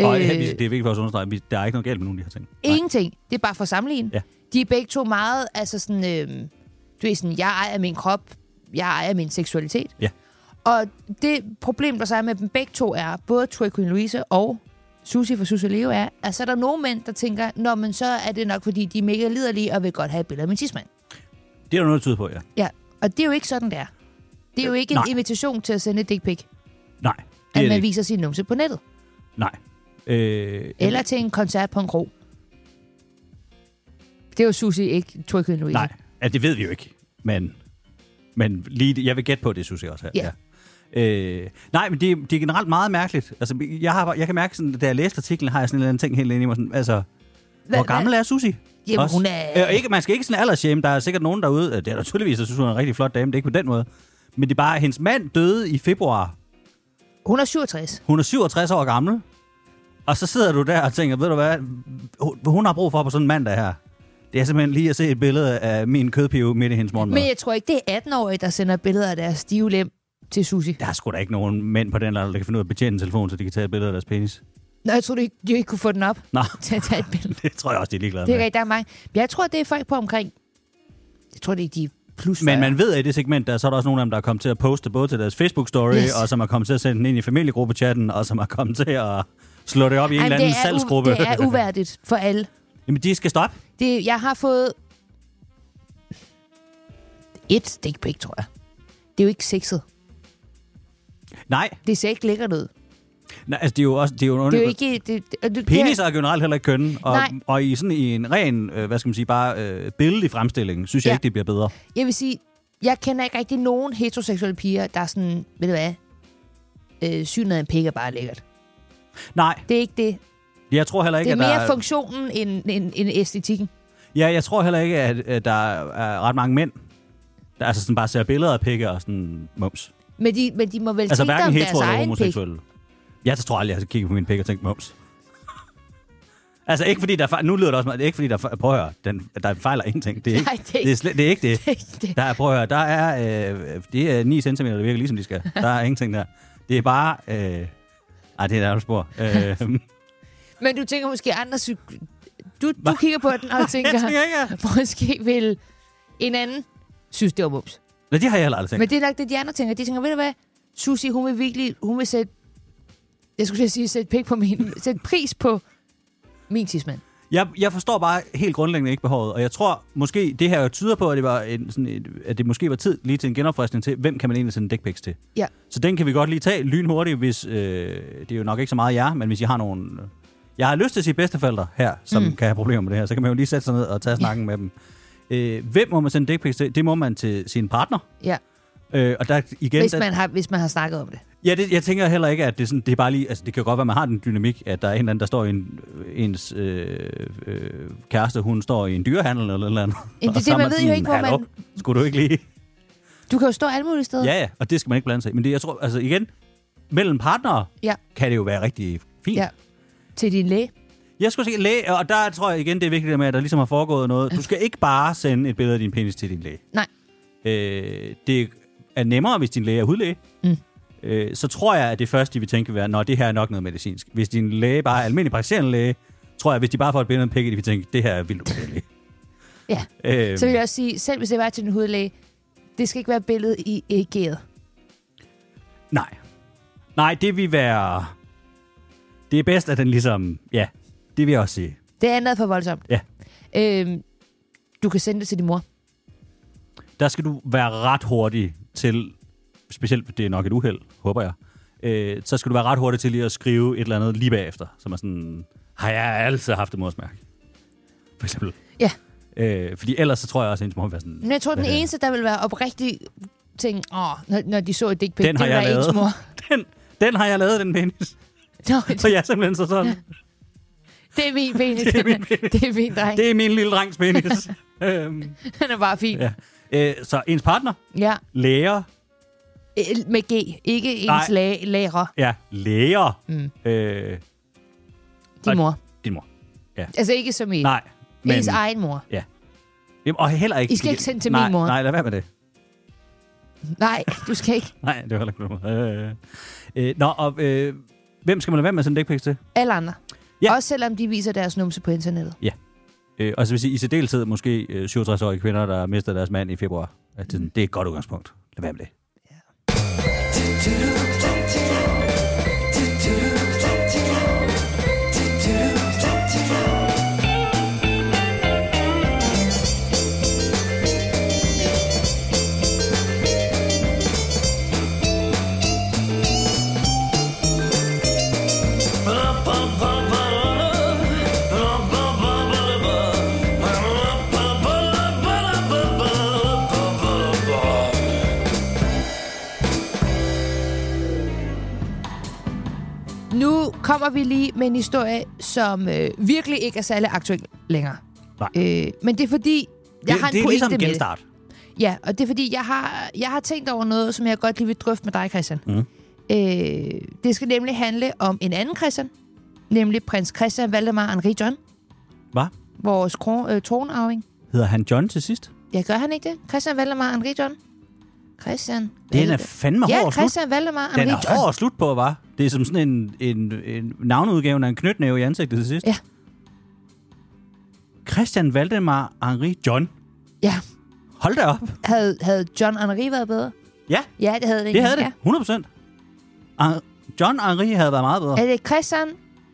Og øh, det er vigtigt for os at understrege, at vi- der er ikke noget galt med nogen af de her ting. Nej. Ingenting. Det er bare for at sammenligne. Ja. De er begge to meget, altså sådan, øh, du ved sådan, jeg ejer min krop, jeg ejer min seksualitet. Ja. Og det problem, der så er med dem begge to er, både Troy Queen Louise og Susie fra Susie Leo er, at så er der nogle mænd, der tænker, nå, men så er det nok, fordi de er mega liderlige og vil godt have et billede af min tidsmand. Det er der noget, der tyder på, ja. Ja, og det er jo ikke sådan, det er. Det er jo ikke Øh, Nej. en invitation til at sende et dick pic, Nej, det at er det man ikke. viser sin numse på nettet. Nej. Øh, Eller til en koncert på en kro. Det er jo Susie, ikke Troy Queen Louise. Nej, ja, det ved vi jo ikke. Men, men lige, det- jeg vil gætte på det, synes jeg også. Her. Ja. Ja. Øh, nej, men det, det er generelt meget mærkeligt. Altså, jeg, har, jeg kan mærke, sådan, da jeg læste artiklen, har jeg sådan en eller anden ting helt inde i mig. Sådan, altså, Hva- Hvor gammel er Susi? Jamen, Også. hun er- Øh, ikke, man skal ikke sådan aldersshame. Der er sikkert nogen derude. øh, Det er der tydeligvis, der synes, hun er en rigtig flot dame. Det er ikke på den måde. Men det er bare, at hendes mand døde i februar. Hun er 67. Hun er 67 år gammel. Og så sidder du der og tænker, ved du hvad, hun- hun har brug for på sådan en mandag her. Det er simpelthen lige at se et billede af min kødpive midt i hendes morgenmad. Men jeg tror ikke, det er 18-årige, der sender billeder af deres stive lem til Susi. Der er sgu da ikke nogen mænd på den alder, der kan finde ud af at betjene en telefon, så de kan tage et billede af deres penis. Nå, jeg tror, de ikke, de ikke kunne få den op Nå, til at tage et billede. det tror jeg også, de er ligeglade Det er med. rigtigt, der er mange. Men jeg tror, det er folk på omkring... Jeg tror, det er de plus Men 40. man ved, at i det segment, der, så er der også nogle af dem, der er kommet til at poste både til deres Facebook-story, Yes. yes. og som er kommet til at sende den ind i familiegruppechatten, og som er kommet til at slå det op i en Ej, men eller anden det er u- salgsgruppe. Det er uværdigt for alle. Jamen, de skal stoppe. Det, jeg har fået et stik pik, tror jeg. Det er jo ikke sexet. Nej, Det ser ikke lækkert ud. nej altså, det er jo også... Det er jo, en Det er jo ikke... Det, det, og det, Penis er generelt heller ikke kønne, og, Nej. og i, sådan, i en ren, øh, hvad skal man sige, bare øh, billedlig fremstilling, synes jeg Ja. ikke, det bliver bedre. Jeg vil sige, jeg kender ikke rigtig nogen heteroseksuelle piger, der er sådan, ved du hvad, øh, synet af en pik er bare lækkert. Nej, Det er ikke det. jeg tror heller Det ikke, er at der mere funktionen end, end, end æstetikken. Ja, jeg tror heller ikke, at, at der er ret mange mænd, der altså sådan bare ser billeder af pikke og sådan mums. Men de, men de må vel Altså tænke hverken om hetero deres eller egen pik. homoseksuelle. Jeg tror aldrig, jeg har kigget på min pik og tænkt mums. altså ikke fordi der fejler, nu lyder det også meget, ikke fordi der fejler, prøv at høre, den, der fejler ingenting. Det er ikke, Nej, det er det er, slet, det er ikke det. Det- Der er, prøv at høre, der er, øh, det er 9 cm, der virker ligesom de skal. Der er ingenting der. Det er bare, øh, ej, det er et spor. Øh, jeg Men du tænker måske andre... Psyk- du, du Hva? kigger på den og tænker, tænker ikke, måske vil en anden synes, det var mums. at... det har jeg heller aldrig tænkt. Men det er nok det, de andre tænker. De tænker, ved du hvad, Susie, hun vil virkelig, hun vil sætte, jeg skulle til at sige, sætte, pik på min, sætte pris på min tidsmand. Jeg, jeg forstår bare helt grundlæggende ikke behovet, og jeg tror måske, det her jo tyder på, at det, var en, sådan et, at det måske var tid lige til en genopfriskning til, hvem kan man egentlig sende dickpics til? Ja. Så den kan vi godt lige tage lynhurtigt, hvis, øh, det er jo nok ikke så meget jer, men hvis I har nogle... Jeg har lyst til at sige bedsteforældre her, som mm. kan have problemer med det her, så kan man jo lige sætte sig ned og tage snakken med dem. Øh, hvem må man sende dickpics til? Det må man til sin partner. Ja, Øh, og der igen, hvis der- man, har, hvis man har snakket om det. Ja, det, jeg tænker heller ikke, at det, er sådan, det er bare lige... Altså, det kan jo godt være, at man har den dynamik, at der er en eller anden, der står i en, ens øh, øh, kæreste, hun står i en dyrehandel eller et eller andet. Jamen, det er Og så det, er man ved jo sådan, ikke, hvor man- "Hallo, Skulle du ikke lige... Du kan jo stå alle mulige steder. Ja, ja, og det skal man ikke blande sig i. Men det, jeg tror, altså igen, mellem partnere ja. kan det jo være rigtig fint. ja. Til din læge. Jeg skulle sige læge, og der tror jeg igen, det er vigtigt det med, at der ligesom har foregået noget. Altså- Du skal ikke bare sende et billede af din penis til din læge. Nej. Øh, det er nemmere, hvis din læge er hudlæge. Mm. Øh, så tror jeg, at det første, de vil tænke, vil være, når det her er nok noget medicinsk. Hvis din læge bare er almindelig praktiserende læge, tror jeg, hvis de bare får et billede af en pik, de vil tænke, det her er vildt ubehageligt. Ja. øh, Så vil jeg også sige, selv hvis det var til din hudlæge, det skal ikke være billedet i ægget. Nej. Nej, det vil være... Det er bedst, at den ligesom... Ja, det vil jeg også sige. Det andet er for voldsomt. Ja. Øhm, du kan sende det til din mor. der skal du være ret hurtig til, specielt det er nok et uheld, håber jeg, øh, så skal du være ret hurtig til lige at skrive et eller andet lige bagefter, som er sådan, har jeg altid haft et morsmærke? For eksempel. Ja. Øh, fordi ellers så tror jeg også, at ens mor vil være sådan, Men jeg tror, den Hvad er det? eneste, der vil være oprigtig ting, åh, når, når de så et dick pic, den har det vil jeg være ens lavet. mor. Den, den har jeg lavet, den penis. Nå, Så jeg er simpelthen så sådan, det er min penis. det, er min det er min dreng. det er min lille drengs penis. øhm, Han er bare fin. Ja. ja. øh, så ens partner, ja. læger, Øh, Med G. Ikke Nej. ens læge, lærer. ja, læger, mm. øh, Din Og- mor. din mor. Altså ikke som i Nej, men... ens egen mor. Jamen, og heller ikke... I skal ikke sende til nej, min mor. Nej, lad være med det. Nej, du skal ikke. Nej, det var heller ikke noget. Øh, øh. Nå, og øh, hvem skal man lade være med at sende dickpics til? Alle andre. Ja. Ja. Også selvom de viser deres numse på internettet. Øh, og så vil sige, i særdeleshed måske øh, 67-årige kvinder, der mister deres mand i februar. At det, er sådan, det er et godt udgangspunkt. Lad være med det. Nu kommer vi lige med en historie, som øh, virkelig ikke er særlig aktuel længere. Nej. Øh, men det er fordi, jeg det, har en det er pointe ligesom med det. genstart. Ja, og det er fordi, jeg har, jeg har tænkt over noget, som jeg godt lige vil drøfte med dig, Christian. Mm. Øh, det skal nemlig handle om en anden Christian, nemlig prins Christian Valdemar Henri John, Hvad? vores kron, øh, tronarving. Hedder han John til sidst? Ja, gør han ikke det? Christian Valdemar Henri John? Christian Den er Valde- fandme Ja, hård at slut. Christian Valdemar Henri Den John. er hård at slut på, var. Det er som sådan en, en, en navneudgave af en knytnæve i ansigtet til sidst. Ja. Christian Valdemar Henri John. Ja, Hold da op. havde, havde John Henri været bedre? Ja, Ja, det havde det. Det havde egentlig, det, 100 procent. Ah, John Henri havde været meget bedre. Ja. Er det Christian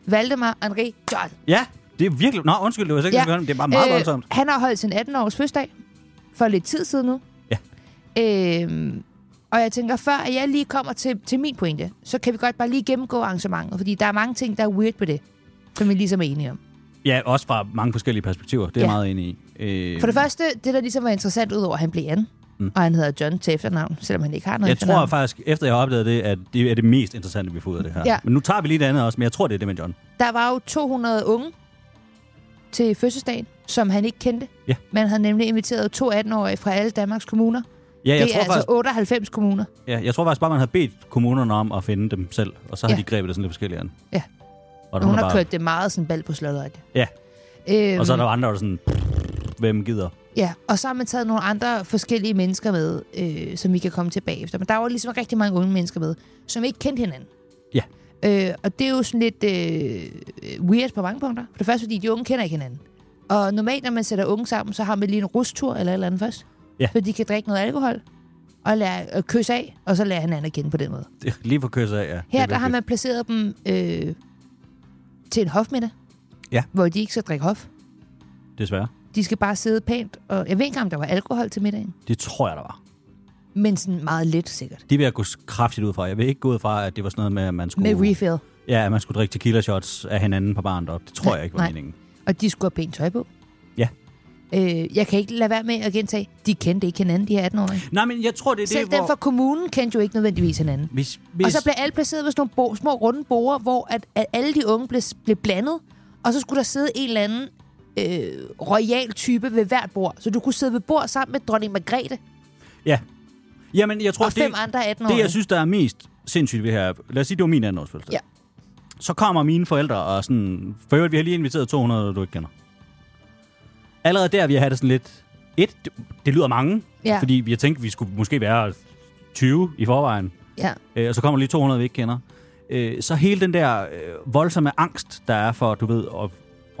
Valdemar Henri John? Ja, Det er virkelig... Nå, undskyld, det var sikkert, ja. det er bare meget øh, voldsomt. Han har holdt sin 18-års fødselsdag for lidt tid siden nu. Ja. Øh, og jeg tænker, før at jeg lige kommer til, til min pointe, så kan vi godt bare lige gennemgå arrangementet, fordi der er mange ting, der er weird på det, som vi ligesom er enige om. Ja, også fra mange forskellige perspektiver. Det er ja. Ja. meget enig i. Øh, For det første, det der ligesom var interessant, udover at han blev Jan, mm. og han hedder John til efternavn, selvom han ikke har noget jeg tror efternavn. faktisk, efter jeg har opdaget det, at det er det mest interessante, vi får ud af det her. Ja. Men nu tager vi lige det andet også, men jeg tror, det er det med John. Der var jo 200 unge til fødselsdagen, som han ikke kendte. Ja. Man havde nemlig inviteret to 18-årige fra alle Danmarks kommuner. Ja, jeg det tror er altså faktisk, 98 kommuner. Ja, jeg tror faktisk bare, man havde bedt kommunerne om at finde dem selv, og så har Ja. de grebet det sådan lidt forskelligt an. Ja. Og, der Nogen var har bare, kørt det meget sådan bald på slottet. Ja. Øhm, og så er der jo andre, der var sådan, hvem gider? Ja, og så har man taget nogle andre forskellige mennesker med, øh, som vi kan komme tilbage efter. Men der var ligesom rigtig mange unge mennesker med, som ikke kendte hinanden. Ja. Øh, og det er jo sådan lidt øh, weird på mange punkter. For det første, fordi de unge kender ikke hinanden. Og normalt, når man sætter unge sammen, så har man lige en rustur eller et eller andet først. Ja. Så de kan drikke noget alkohol og lære at kysse af, og så lære hinanden at kende på den måde. Det- Lige for kysset af, ja. Det Her er der har virkelig- man placeret dem øh, til en hofmiddag, Ja. hvor de ikke skal drikke hof. Desværre. De skal bare sidde pænt, og jeg ved ikke engang, om der var alkohol til middagen. Det tror jeg, der var. Men sådan meget lidt, sikkert. Det vil jeg gå s- kraftigt ud fra. Jeg vil ikke gå ud fra, at det var sådan noget med, at man skulle, Med refill. ja, at man skulle drikke tequila shots af hinanden på baren op. Det tror Nej, jeg ikke var nej. meningen. Og de skulle have pænt tøj på. Ja. Øh, jeg kan ikke lade være med at gentage, de kendte ikke hinanden, de her 18-årige. Nej, men jeg tror, det er Selv det, dem hvor... fra kommunen kendte jo ikke nødvendigvis hinanden. Hvis, Hvis... hvis, Og så blev alle placeret ved sådan nogle bo- små runde borer, hvor at, at alle de unge blev, blev blandet. Og så skulle der sidde en eller anden øh, royal type ved hvert bord. Så du kunne sidde ved bord sammen med dronning Margrethe Ja. Jamen, jeg tror, og fem det, andre 18-årige. det, jeg synes, der er mest sindssygt ved det her... Lad os sige, det var min anden årsfødselsdag. Ja. Så kommer mine forældre og sådan... For øvrigt, vi har lige inviteret 200, du ikke kender. Allerede der, vi har det sådan lidt... Et, det, det lyder mange, Ja. fordi vi har tænkt, vi skulle måske være 20 i forvejen. Ja. øh, og så kommer lige 200, vi ikke kender. Øh, så hele den der øh, voldsomme angst, der er for, du ved, at,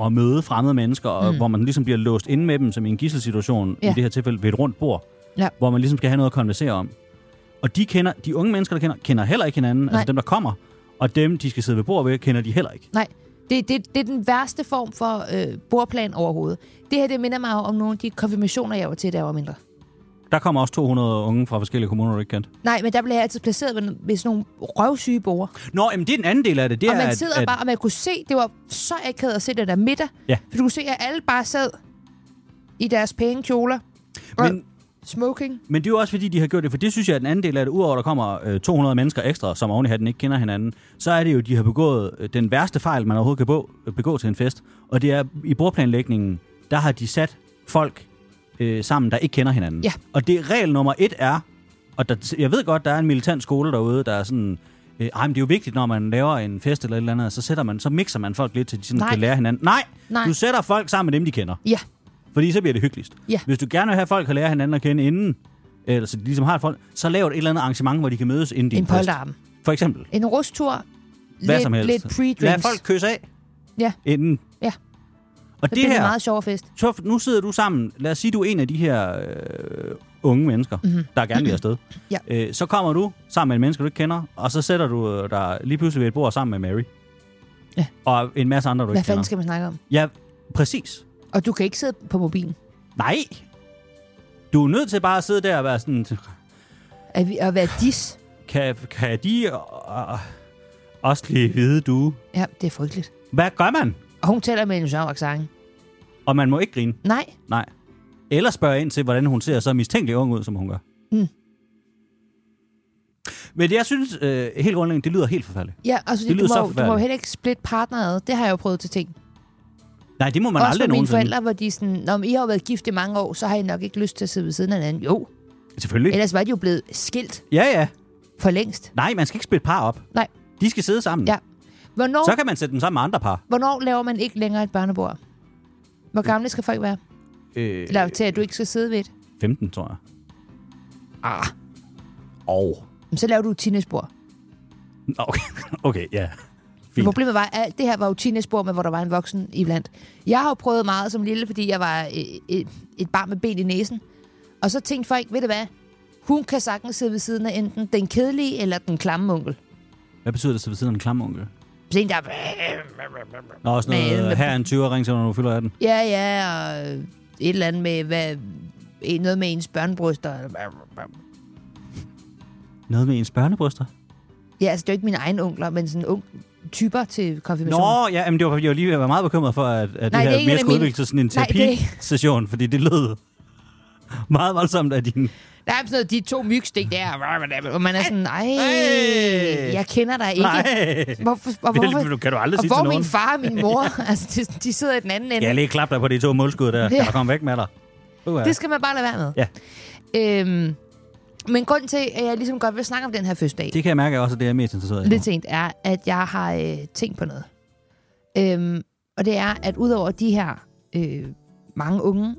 at møde fremmede mennesker, og, hvor man ligesom bliver låst inde med dem, som i en gisselsituation, ja. Mm. Ja. i det her tilfælde ved et rundt bord, Ja. hvor man ligesom skal have noget at konversere om. Og de, kender, de unge mennesker, der kender, kender heller ikke hinanden, Nej. Nej. altså dem, der kommer, og dem, de skal sidde ved bord ved, kender de heller ikke. Nej, det, det, det er den værste form for øh, bordplan overhovedet. Det her, det minder mig om nogle af de konfirmationer, jeg var til, da jeg var mindre. Der kommer også 200 unge fra forskellige kommuner, du ikke kendte. Nej, men der blev jeg altid placeret ved, ved sådan nogle røvsyge borger. Nå, jamen, det er den anden del af det. det og er, man at- sidder at, bare, og man kunne se, det var så akavet at se det der middag. Ja. For du kunne se, at alle bare sad i deres pæne kjoler. Og Men- men, smoking. Men det er jo også fordi, de har gjort det, for det synes jeg er den anden del af det. Udover at der kommer øh, 200 mennesker ekstra, som oven i hatten ikke kender hinanden, så er det jo, de har begået øh, den værste fejl, man overhovedet kan begå, begå til en fest. Og det er, i bordplanlægningen, der har de sat folk øh, sammen, der ikke kender hinanden. Ja. Og det regel nummer et er, og der, jeg ved godt, der er en militant skole derude, der er sådan... Øh, ej, men det er jo vigtigt, når man laver en fest eller et eller andet, så, sætter man, så mixer man folk lidt, så de sådan Nej. kan lære hinanden. Nej, Nej. du sætter folk sammen med dem, de kender. Ja, Fordi så bliver det hyggeligst. Ja. Hvis du gerne vil have at folk at lære hinanden at kende inden, eller så de ligesom har et folk, så lav et eller andet arrangement, hvor de kan mødes inden din en fest. polterarm. For eksempel. En rustur. Hvad lidt, som helst. Lidt Lad pre-drinks. folk kysse af Ja, inden. Ja. Og så det, det her, en meget sjov fest. så nu sidder du sammen, lad os sige, du er en af de her øh, unge mennesker, mm-hmm. der gerne vil afsted. Mhm. Ja. Øh, så kommer du sammen med en menneske, du ikke kender, og så sætter du øh, dig lige pludselig ved et bord sammen med Mary. Ja. Og en masse andre, du Hvad ikke kender. fanden skal man snakke om? Ja, præcis. Og du kan ikke sidde på mobilen. Nej. Du er nødt til bare at sidde der og være sådan, At, vi, at være dis. kan, kan de øh, også lige vide, du... Ja, det er frygteligt. Hvad gør man? Og hun taler med en sjov accent. Og man må ikke grine. Nej, Nej. Eller spørge ind til, hvordan hun ser så mistænkelig ung ud, som hun gør. Mm. Men jeg synes øh, helt grundlæggende, det lyder helt forfærdeligt. ja, altså, Det det lyder du, så må, jo- du må jo forfærdeligt. heller ikke splitte partner ad. Det har jeg jo prøvet til ting. Nej, det må man Også aldrig med mine nogensinde. forældre, hvor de sådan, Nå, men I har jo været gift i mange år, så har I nok ikke lyst til at sidde ved siden af hinanden. Jo, Selvfølgelig. ellers var de jo blevet skilt Ja, ja. for længst. Nej, man skal ikke splitte par op. Nej. De skal sidde sammen. Ja. Hvornår, Mm. Så kan man sætte dem sammen med andre par. hvornår laver man ikke længere et børnebord? Hvor gamle skal folk være? Øh, Eller til, at du ikke skal sidde ved et? 15, tror jeg. Ah, Og. men så laver du et teenagebord. Okay, okay ja. Men Fint. Problemet var, at alt det her var jo teenagebord, men hvor der var en voksen iblandt. Jeg har jo prøvet meget som lille, fordi jeg var et, et, et barn med ben i næsen. Og så tænkte folk, ved du hvad? Hun kan sagtens sidde ved siden af enten den kedelige eller den klamme onkel. Hvad betyder det så ved siden af en klam onkel? Sådan en, der... Nå, sådan noget, Men- øh, her er en 20'er, ring til, mig, når du fylder 18. Ja, ja, og et eller andet med... Hvad, en- noget med ens børnebryster. Noget med ens børnebryster. Ja, altså, det er jo ikke mine egne onkler, men sådan ung typer til konfirmation. Nå, ja, men det var, jeg var lige jeg var meget bekymret for, at, at Nej, det det er her ikke, mere hvad skulle jeg udvikle sig sådan en mener. Nej, det er ikke. terapisession, fordi det lød meget voldsomt af din... Der er sådan noget, de to mygstik der, og man er sådan, ej, Ej. jeg kender dig ikke. Nej, Hvorfor, og hvorfor, det, kan du aldrig og sige til hvor er nogen. min far og min mor? altså, de, de sidder i den anden ende. Jeg lige klap dig på de to målskud der. Ja. Jeg kom væk med dig. Uh, Det skal man bare lade være med. Ja. Øhm, men grunden til, at jeg ligesom godt vil snakke om den her fødselsdag, det kan jeg mærke er også, at det er jeg mest interesseret i. lidt Lidt. sent, er, at jeg har øh, tænkt på noget. Øhm, og det er, at udover de her øh, mange unge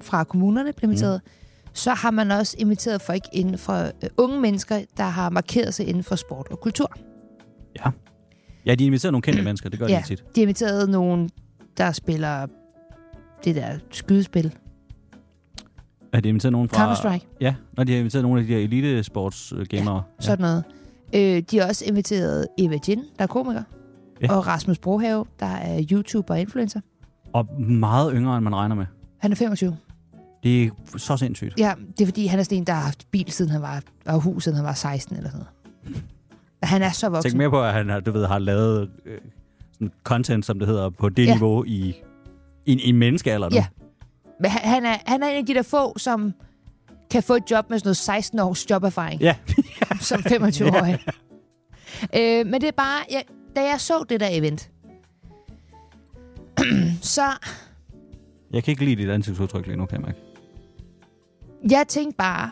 fra kommunerne blev inviteret, mm. så har man også inviteret folk inden for øh, unge mennesker, der har markeret sig inden for sport og kultur. Ja, de inviterer nogle kendte mennesker, det gør de Ja, ikke tit. de har inviteret nogen, der spiller det der skydespil. Ja, de inviterer nogen fra... Counter-Strike. Ja, når de har inviteret nogle af de der elitesportsgamere. Ja, sådan noget. Øh, de har også inviteret Eva Jin, der er komiker, Ja. ja. og Rasmus Brohave, der er YouTuber og influencer. Og meget yngre, end man regner med. Han er 25. Det er så sindssygt. Ja, det er fordi, han er sådan en, der har haft bil, siden han var, og hus, siden han var 16 eller sådan noget. Han er så Tænk voksen. mere på, at han har, du ved, har lavet øh, sådan content, som det hedder, på det ja. Ja. niveau i, i, i en menneskealder nu. Ja. Men han- han er, han er en af de der få, som kan få et job med sådan noget 16 års joberfaring ja. som 25-årig. øh, men det er bare, jeg, da jeg så det der event, så Jeg kan ikke lide dit ansigtsudtryk lige nu, kan jeg mærke. Jeg tænkte bare,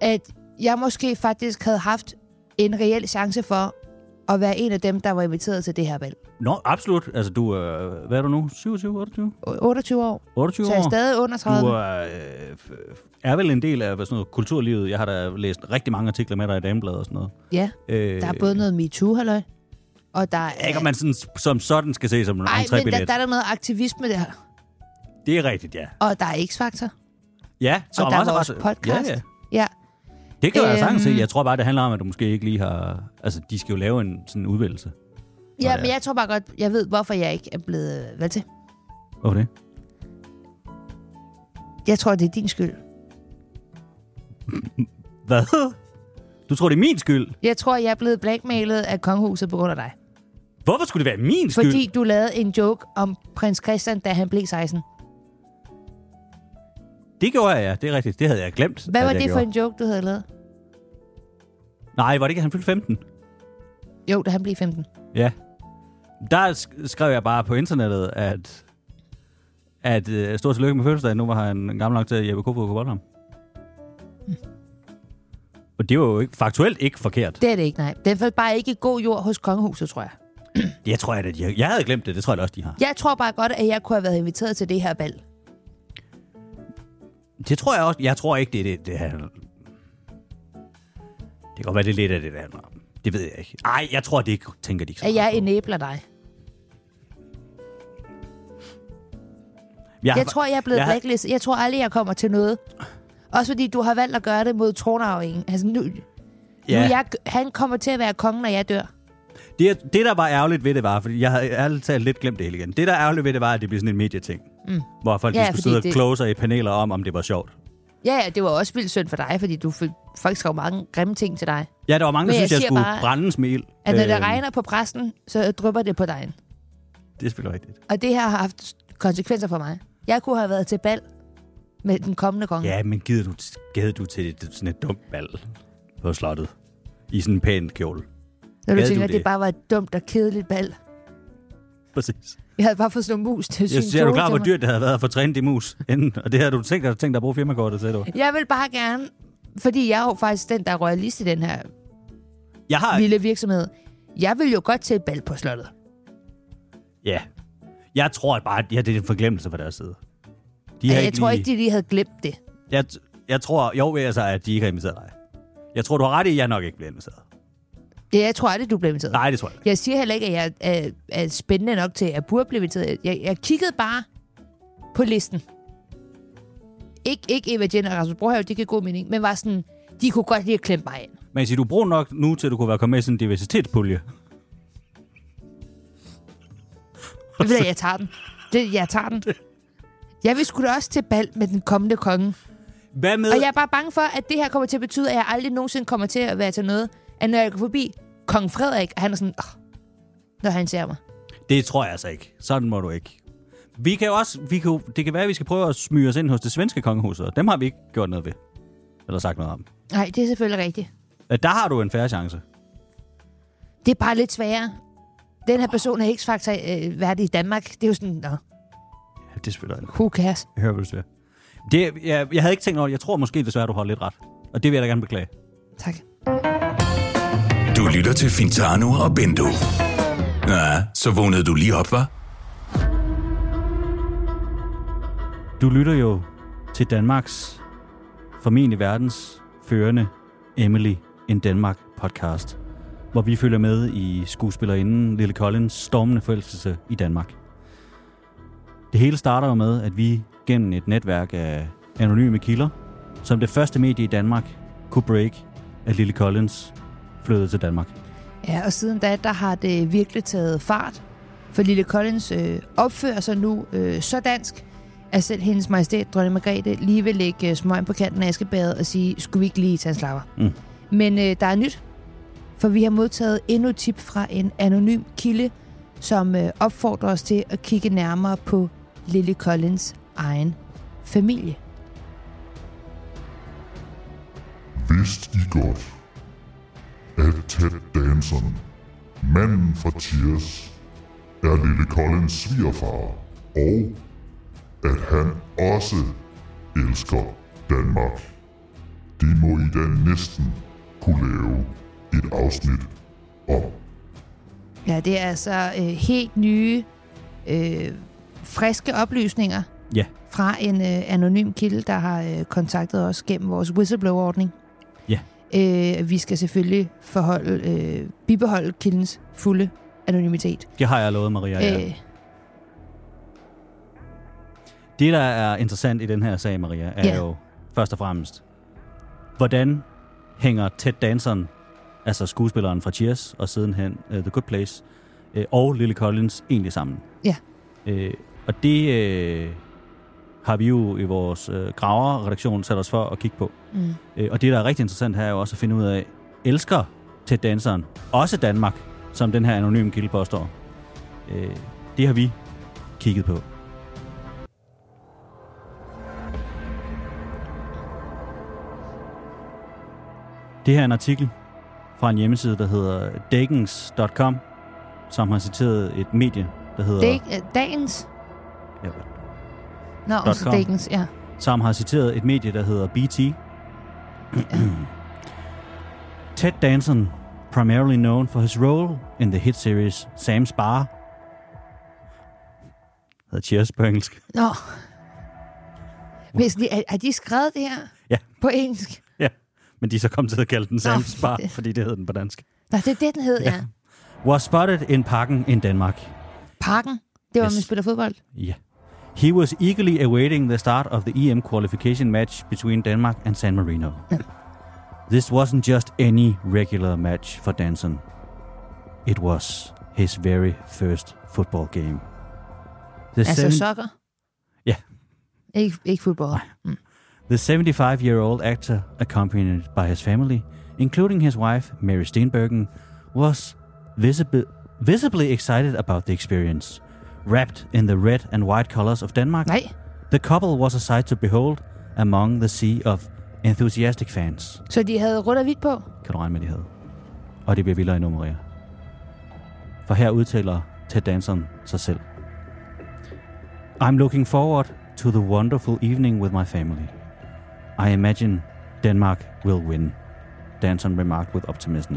at jeg måske faktisk havde haft en reel chance for at være en af dem, der var inviteret til det her valg. Nå, absolut. Altså, du øh, hvad er du nu? 27, 28? O- 28 år, 28 så jeg er år? stadig under 30. Du er, øh, f- er vel en del af hvad sådan noget, kulturlivet. Jeg har da læst rigtig mange artikler med dig i Damebladet og sådan noget. Ja, Øh, der er både noget MeToo, halløj, og der er... Ikke om man sådan, som sådan skal se som en Ej, men der, entrébillet. der er noget aktivisme der, Det er rigtigt, ja. og der er X-Factor, Ja, og der også- er vores også- podcast. Ja, ja. ja. Det kan øhm, jeg sagtens se. Øhm. Jeg tror bare, det handler om, at du måske ikke lige har... Altså, de skal jo lave en sådan en udvælgelse. ja det er- men jeg tror bare godt, jeg ved, hvorfor jeg ikke er blevet valgt til. Hvorfor det? Jeg tror, det er din skyld. Hvad? Du tror, det er min skyld? Jeg tror, jeg er blevet blackmailet af kongehuset på grund af dig. Hvorfor skulle det være min skyld? Fordi du lavede en joke om prins Christian, da han blev 16. Det gjorde jeg, ja. Det er rigtigt. Det havde jeg glemt. Hvad at var jeg det for gjorde. en joke, du havde lavet? Nej, var det ikke, at han fyldte 15? Jo, da han blev 15. Ja. Der sk- skrev jeg bare på internettet, at... At øh, stort tillykke med fødselsdagen. Nu var han gammel nok til, at Jeppe Kofod kunne bolde ham. Og det var jo ikke, faktuelt ikke forkert. Det er det ikke, nej. Den faldt bare ikke i god jord hos kongehuset, tror jeg. Jeg tror, at de har, jeg havde glemt det. Det tror jeg da også, de har. Jeg tror bare godt, at jeg kunne have været inviteret til det her valg. Det tror jeg også. Jeg tror ikke, det er det, det handler om. Det kan godt være, det er lidt af det, det handler om. Det ved jeg ikke. Nej, jeg tror, det ikke- tænker de ikke så At meget jeg på. enæbler dig. jeg, Jeg tror, jeg er blevet jeg har- blacklistet. Jeg tror aldrig, jeg kommer til noget. Også fordi du har valgt at gøre det mod tronarvingen. Altså nu, ja. nu er jeg, han kommer til at være kongen, når jeg dør. Det, det, der var ærgerligt ved det, var, fordi jeg havde ærligt talt lidt glemt det hele igen. Det, der er ærgerligt ved det, var, at det blev sådan en medieting. Mm. Hvor folk Ja, ja, skulle fordi sidde og det- kloge sig i paneler om, om det var sjovt. Ja, ja, det var også vildt synd for dig, fordi du f- folk skrev mange grimme ting til dig. Ja, der var mange, der Men jeg synes, jeg, jeg siger skulle bare, bare, brændes med ild. At når øh. det Øhm, regner på præsten, så drypper det på dig. Det er selvfølgelig rigtigt. Og det her har haft konsekvenser for mig. Jeg kunne have været til bal med den kommende konge. Ja, men gider du, gad du til et, sådan et dumt valg på slottet? I sådan en pæn kjole. Når du Gad du tænker, at det det? bare var et dumt og kedeligt bal. Præcis. Jeg havde bare fået sådan nogle mus til at Jeg syne ser, er du tårer klar, til hvor mig. dyrt det havde været at få trænet de mus inden? Og det havde du tænkt dig, tænkt dig at bruge firmakortet til, du. Jeg vil bare gerne, fordi jeg er jo faktisk den, der er royalist i den her Ej. Jeg har... lille virksomhed. Jeg vil jo godt til et bal på slottet. Ja. Jeg tror bare, at ja, det er en forglemmelse fra deres side. De Ja, har jeg tror lige- ikke, de lige havde glemt det. Jeg, jeg tror, jo, altså, at de ikke har inviteret dig. Jeg tror, du har ret i, at jeg nok ikke bliver inviteret. Ja, jeg tror aldrig, du blev inviteret. Nej, det tror jeg ikke. Jeg siger heller ikke, at jeg er, er spændende nok til, at jeg burde blive inviteret. Jeg, jeg kiggede bare på listen. Ikke, ikke Eva Jen og Rasmus Brohave, det kan god mening, men var sådan, de kunne godt lige klemme mig ind. Men jeg siger, du er brun nok nu, til at du kunne være kommet med i sådan en diversitetspulje. Jeg ved, at jeg tager den. Det, jeg tager den. Jeg vil sgu da også til bal med den kommende konge. Hvad med... Og jeg er bare bange for, at det her kommer til at betyde, at jeg aldrig nogensinde kommer til at være til noget, at når jeg går forbi kong Frederik, og han er sådan, oh, når han ser mig. Det tror jeg altså ikke. Sådan må du ikke. Vi kan jo også, vi kan, jo- det kan være, at vi skal prøve at smyge os ind hos det svenske kongehus, og dem har vi ikke gjort noget ved. Eller sagt noget om. Nej, det er selvfølgelig rigtigt. Øh, Der har du en færre chance. Det er bare lidt sværere. Den her person er ikke faktisk øh, værdig i Danmark. Det er jo sådan, nå, Ja, det er selvfølgelig rigtigt. who cares? Jeg hører, hvad du siger. Det, jeg, jeg havde ikke tænkt over det. Jeg tror måske desværre, du har lidt ret. Og det vil jeg da gerne beklage. Tak. Du lytter til Fintano og Bendo. Ja, så vågnede du lige op, var? Du lytter jo til Danmarks, formentlig verdens førende Emily in Denmark podcast, hvor vi følger med i skuespillerinden Lille Collins stormende forelskelse i Danmark. Det hele starter jo med, at vi gennem et netværk af anonyme kilder, som det første medie i Danmark, kunne break, at Lille Collins flyttede til Danmark. Ja, og siden da, der har det virkelig taget fart. For Lille Collins øh, opfører sig nu øh, så dansk, at selv hendes majestæt, dronning Margrethe, lige vil lægge øh, smøgen på kanten af Askebadet og sige, skulle vi ikke lige tage en slapper? Mm. Men øh, der er nyt, for vi har modtaget endnu et tip fra en anonym kilde, som øh, opfordrer os til at kigge nærmere på Lille Collins egen familie. Vidste I godt, at Ted Danson, manden fra Cheers, er Lille Collins svigerfar, og at han også elsker Danmark. Det må I da næsten kunne lave et afsnit om. Ja, det er altså øh, helt nye, øh, friske oplysninger Ja, fra en øh, anonym kilde, der har øh, kontaktet os gennem vores whistleblower-ordning. Ja. Øh, vi skal selvfølgelig forholde, øh, bibeholde kildens fulde anonymitet. det har jeg lovet, Maria. Ja. Øh, Det, der er interessant i den her sag, Maria, er Ja. ja. jo først og fremmest, hvordan hænger Ted Danson, altså skuespilleren fra Cheers og sidenhen uh, The Good Place, uh, og Lily Collins egentlig sammen? Ja. Uh, og det uh, har vi jo i vores uh, graver-redaktion sat os for at kigge på. mm. Uh, og det, der er rigtig interessant her, er jo også at finde ud af, elsker Ted Danson også Danmark, som den her anonyme kilde påstår? Uh, det har vi kigget på. Det her er en artikel fra en hjemmeside, der hedder dagens.com, som har citeret et medie, der hedder... Dag, øh, dagens? Ja, Nå, og så com. dagens, ja. som har citeret et medie, der hedder BT. Ted Danson, primarily known for his role in the hit series Sam's Bar, hedder Cheers på engelsk. Nå. Hvis de, er, er de skrevet det her Ja. på engelsk? Ja, men de er så kommet til at kalde den Sam's Bar, det- fordi det hed den på dansk. Nå, det er det, den hed, ja. ja. Was spotted in parken in Denmark. Parken. Det var, yes. Yes. man spiller fodbold. Yeah. He was eagerly awaiting the start of the EM qualification match between Denmark and San Marino. this wasn't just any regular match for Danson. It was his very first football game. The, Altså seven- sokker. Ja. Ikke, ikke fodbold. the 75 year old actor, accompanied by his family, including his wife, Mary Steenburgen, was visib- visibly excited about the experience. Wrapped in the red and white colors of Denmark, Nej. The couple was a sight to behold among the sea of enthusiastic fans. Så de havde rødt og hvidt på? Kan du regne med, de havde? Og det bliver vildere endnu, Maria. For her udtaler Ted Danson sig selv. I'm looking forward to the wonderful evening with my family. I imagine Denmark will win, Danson remarked with optimism.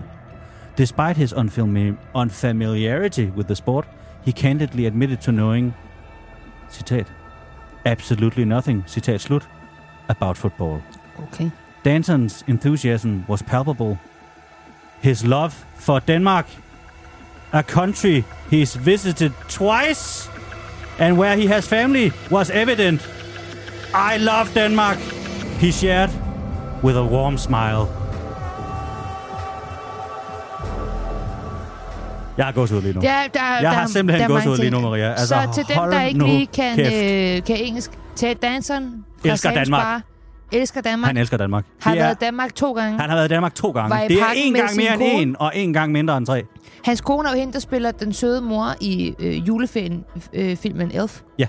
Despite his unfamil- unfamiliarity with the sport, he candidly admitted to knowing, citat, absolutely nothing, citat slut, about football. Okay. Danson's enthusiasm was palpable. His love for Denmark, a country he's visited twice and where he has family, was evident. I love Denmark, he shared with a warm smile. Jeg har gåsehud lige nu. Ja, der, Jeg der, har simpelthen der er mange gåsehud lige nu, ting. Maria. Altså, så til dem, hold der ikke nu lige kan, kæft. øh, kan engelsk, Ted Danson fra Elsker Sam's Danmark. Bar, elsker Danmark. Han elsker Danmark. har Det er- været i Danmark to gange. Han har været i Danmark to gange. Var i det er parken én med gang sin mere end kone. en, og én gang mindre end tre. Hans kone er jo hende, der spiller den søde mor i øh, juleferien, øh, filmen Elf. Ja,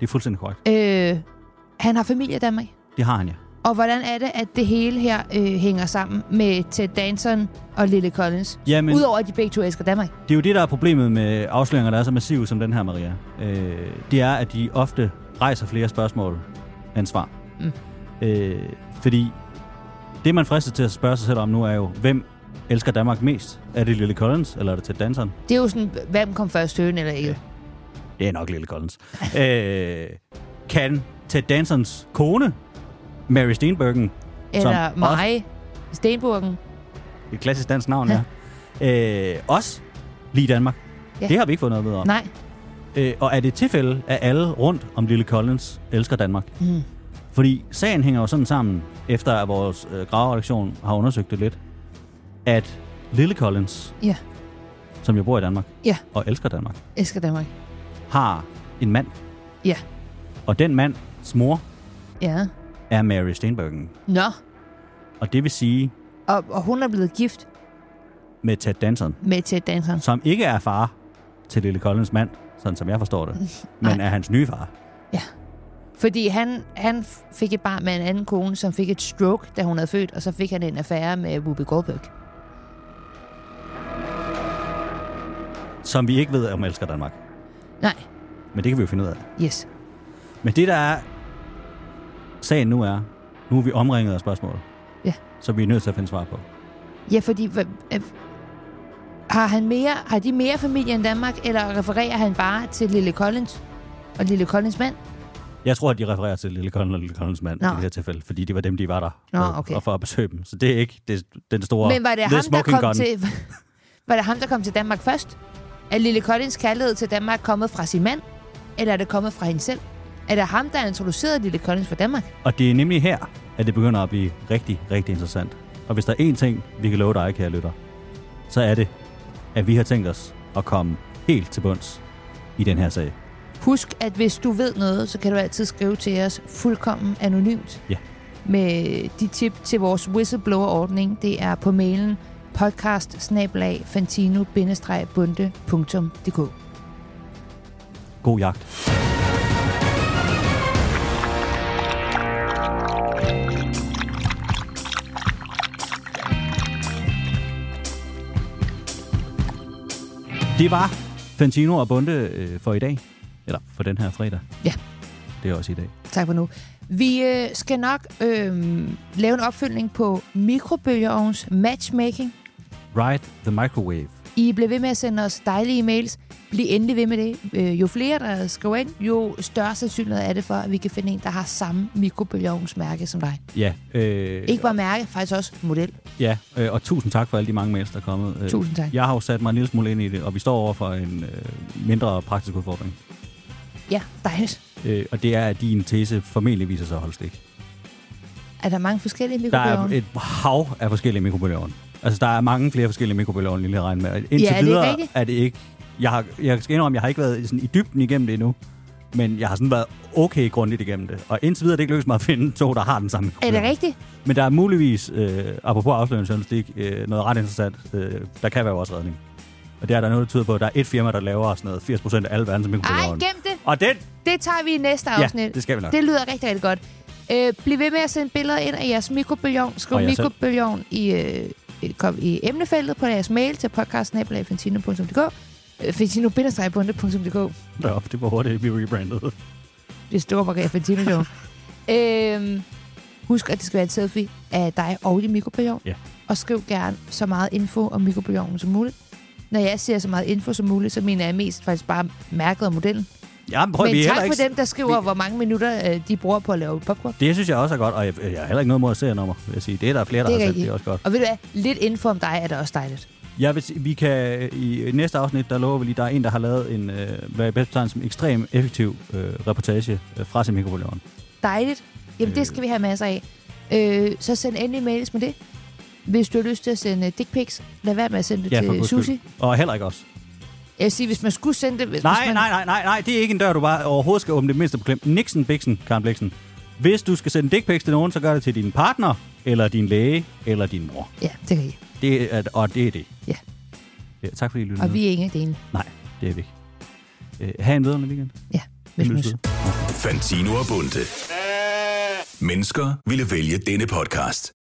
det er fuldstændig korrekt. Øh, han har familie i Danmark. Det har han, ja. Og hvordan er det, at det hele her øh, hænger sammen med Ted Danson og Lille Collins? Jamen, Udover at de begge to elsker Danmark. det er jo det, der er problemet med afsløringer, der er så massive som den her, Maria. Øh, det er, at de ofte rejser flere spørgsmål end svar. Mm. Øh, fordi det, man fristes til at spørge sig selv om nu, er jo, hvem elsker Danmark mest? Er det Lille Collins, eller er det Ted Danson? Det er jo sådan, hvem kom først, hønen eller ikke? Det er nok Lille Collins. øh, kan Ted Dansons kone, Mary Steenburgen, Eller som også- mig, Stenburgen. et klassisk dansk navn, ja, øh, også lige Danmark? Ja. Ja. Det har vi ikke fået noget ved om. Nej, Øh, og er det et tilfælde, at alle rundt om Lille Collins elsker Danmark? Mm. Fordi sagen hænger jo sådan sammen, efter at vores øh, graveredaktion har undersøgt det lidt, at Lille Collins, ja, som jo bor i Danmark ja, og elsker Danmark, elsker Danmark. har en mand. Ja, Og den mands mor ja. er Mary Steenburgen. Nå, Og det vil sige og, og hun er blevet gift med Ted Danson, med Ted Danson. som ikke er far til Lille Collins mand, sådan som jeg forstår det, men er hans nye far. Ja. Fordi han, han f- fik et barn med en anden kone, som fik et stroke, da hun havde født, og så fik han en affære med Whoopi Goldberg. Som vi ikke ved, om elsker Danmark. Nej, Men det kan vi jo finde ud af. yes. Men det, der er sagen nu er, nu er vi omringet af spørgsmål, Ja. så vi er nødt til at finde svar på. Ja, fordi... hva- øh, Har, han mere, har de mere familie end Danmark, eller refererer han bare til Lille Collins og Lille Collins mand? Jeg tror, at de refererer til Lille Collins og Lille Collins mand Nå. i det her tilfælde, fordi det var dem, de var der Nå, og- okay. og for at besøge dem. Så det er ikke det, den store Men var det, the ham, der smoking kom gun. til, var det ham, der kom til Danmark først? Er Lille Collins kærlighed til Danmark kommet fra sin mand, eller er det kommet fra hende selv? Er det ham, der introducerede Lille Collins for Danmark? Og det er nemlig her, at det begynder at blive rigtig, rigtig interessant. Og hvis der er én ting, vi kan love dig, kære lytter, så er det, at vi har tænkt os at komme helt til bunds i den her sag. Husk, at hvis du ved noget, så kan du altid skrive til os fuldkommen anonymt. Ja. Med de tip til vores whistleblower-ordning. Det er på mailen podcast bundedk God jagt. Det var Fantino og Bunde øh, for i dag. Eller for den her fredag. Ja. Det er også i dag. Tak for nu. Vi øh, skal nok øh, lave en opfølgning på mikrobølgeovns matchmaking. Ride the Microwave. I bliver ved med at sende os dejlige e-mails. Bliv endelig ved med det. Øh, Jo flere, der skriver ind, jo større sandsynlighed er det for, at vi kan finde en, der har samme mikrobølgeovnsmærke som dig. Ja, øh, Ikke bare mærke, faktisk også model. ja øh, og tusind tak for alle de mange mails, der er kommet. Øh, Tusind tak. Jeg har jo sat mig en lille smule ind i det, og vi står over for en øh, mindre praktisk udfordring. Ja, dejligt. Øh, og det er, at din tese formentlig viser sig at holde stik. Er der mange forskellige Der er mikrobølgeovne? et hav af forskellige mikrobølgeovne. Altså, der er mange flere forskellige mikrobølgeovne, lige at regne med. Indtil Ja, er det ikke videre rigtigt? er det ikke... Jeg, har, jeg skal indrømme, jeg har ikke været sådan i dybden igennem det endnu. Men jeg har sådan været okay grundigt igennem det. Og indtil videre er det ikke lykkedes mig at finde to, der har den samme Er det mikrobølgeovn. rigtigt? Men der er muligvis, øh, apropos afslørende journalistik, øh, noget ret interessant. Øh, der kan være vores redning. Og det er der noget, der tyder på, at der er et firma, der laver sådan noget 80% af alle verdens Ej, mikrobølgeovne. gem det. Og den Det tager vi i næste afsnit. det skal vi nok. Det lyder rigtig, rigtig godt. Øh, bliv ved med at sende billeder ind af jeres mikrobølgeovn. Skriv Og jer selv. mikrobølgeovn i, øh, i- kom i emnefeltet på jeres mail til podcast-fantino.dk øh, fantino deroppe, det var hurtigt, vi rebrandede. Det store Maria Fantino Show. øhm, husk, at det skal være et selfie af dig og din mikrobølgeovn. Ja. Og skriv gerne så meget info om mikrobølgeovnen som muligt. Når jeg siger så meget info som muligt, så mener jeg mest faktisk bare mærket og modellen. Ja, men prøv, vi Men er heller tak ikke... for dem, der skriver, hvor mange minutter øh, de bruger på at lave popcorn. Det synes jeg også er godt, og jeg, jeg har heller ikke noget mod at se nummer, vil jeg sige. Det er der flere, der Det det er har sagt, rigtigt. det er også godt. Og ved du hvad? Lidt info om dig er da også dejligt. Jeg vil, sige, vi kan i næste afsnit, der lover vi lige, der er en, der har lavet en, øh, hvad jeg bedst betegner som ekstrem effektiv øh, reportage øh, fra sin mikrobølgeovn. Dejligt. Jamen, øh. det skal vi have masser af. Øh, så send endelig mails med det. Hvis du har lyst til at sende dick pics, lad være med at sende det for til guds skyld. Susi. Og heller ikke os. Jeg vil sige, hvis man skulle sende det... Hvis Nej, man, nej, nej, nej, nej, det er ikke en dør, du bare overhovedet skal åbne det mindste problem. Nixon, Bixen, Karen Bliksen. Hvis du skal sende dick pics til nogen, så gør det til din partner, eller din læge, eller din mor. Ja, det kan I. Det er, og det er det. Ja. Ja, tak fordi I lyttede Og med. vi er ingen af det ene. Nej, det er vi ikke. Øh, ha' en vedrørende weekend. Ja, hvis man... Lyttes ved. Fantino og Bunde. Mennesker ville vælge denne podcast.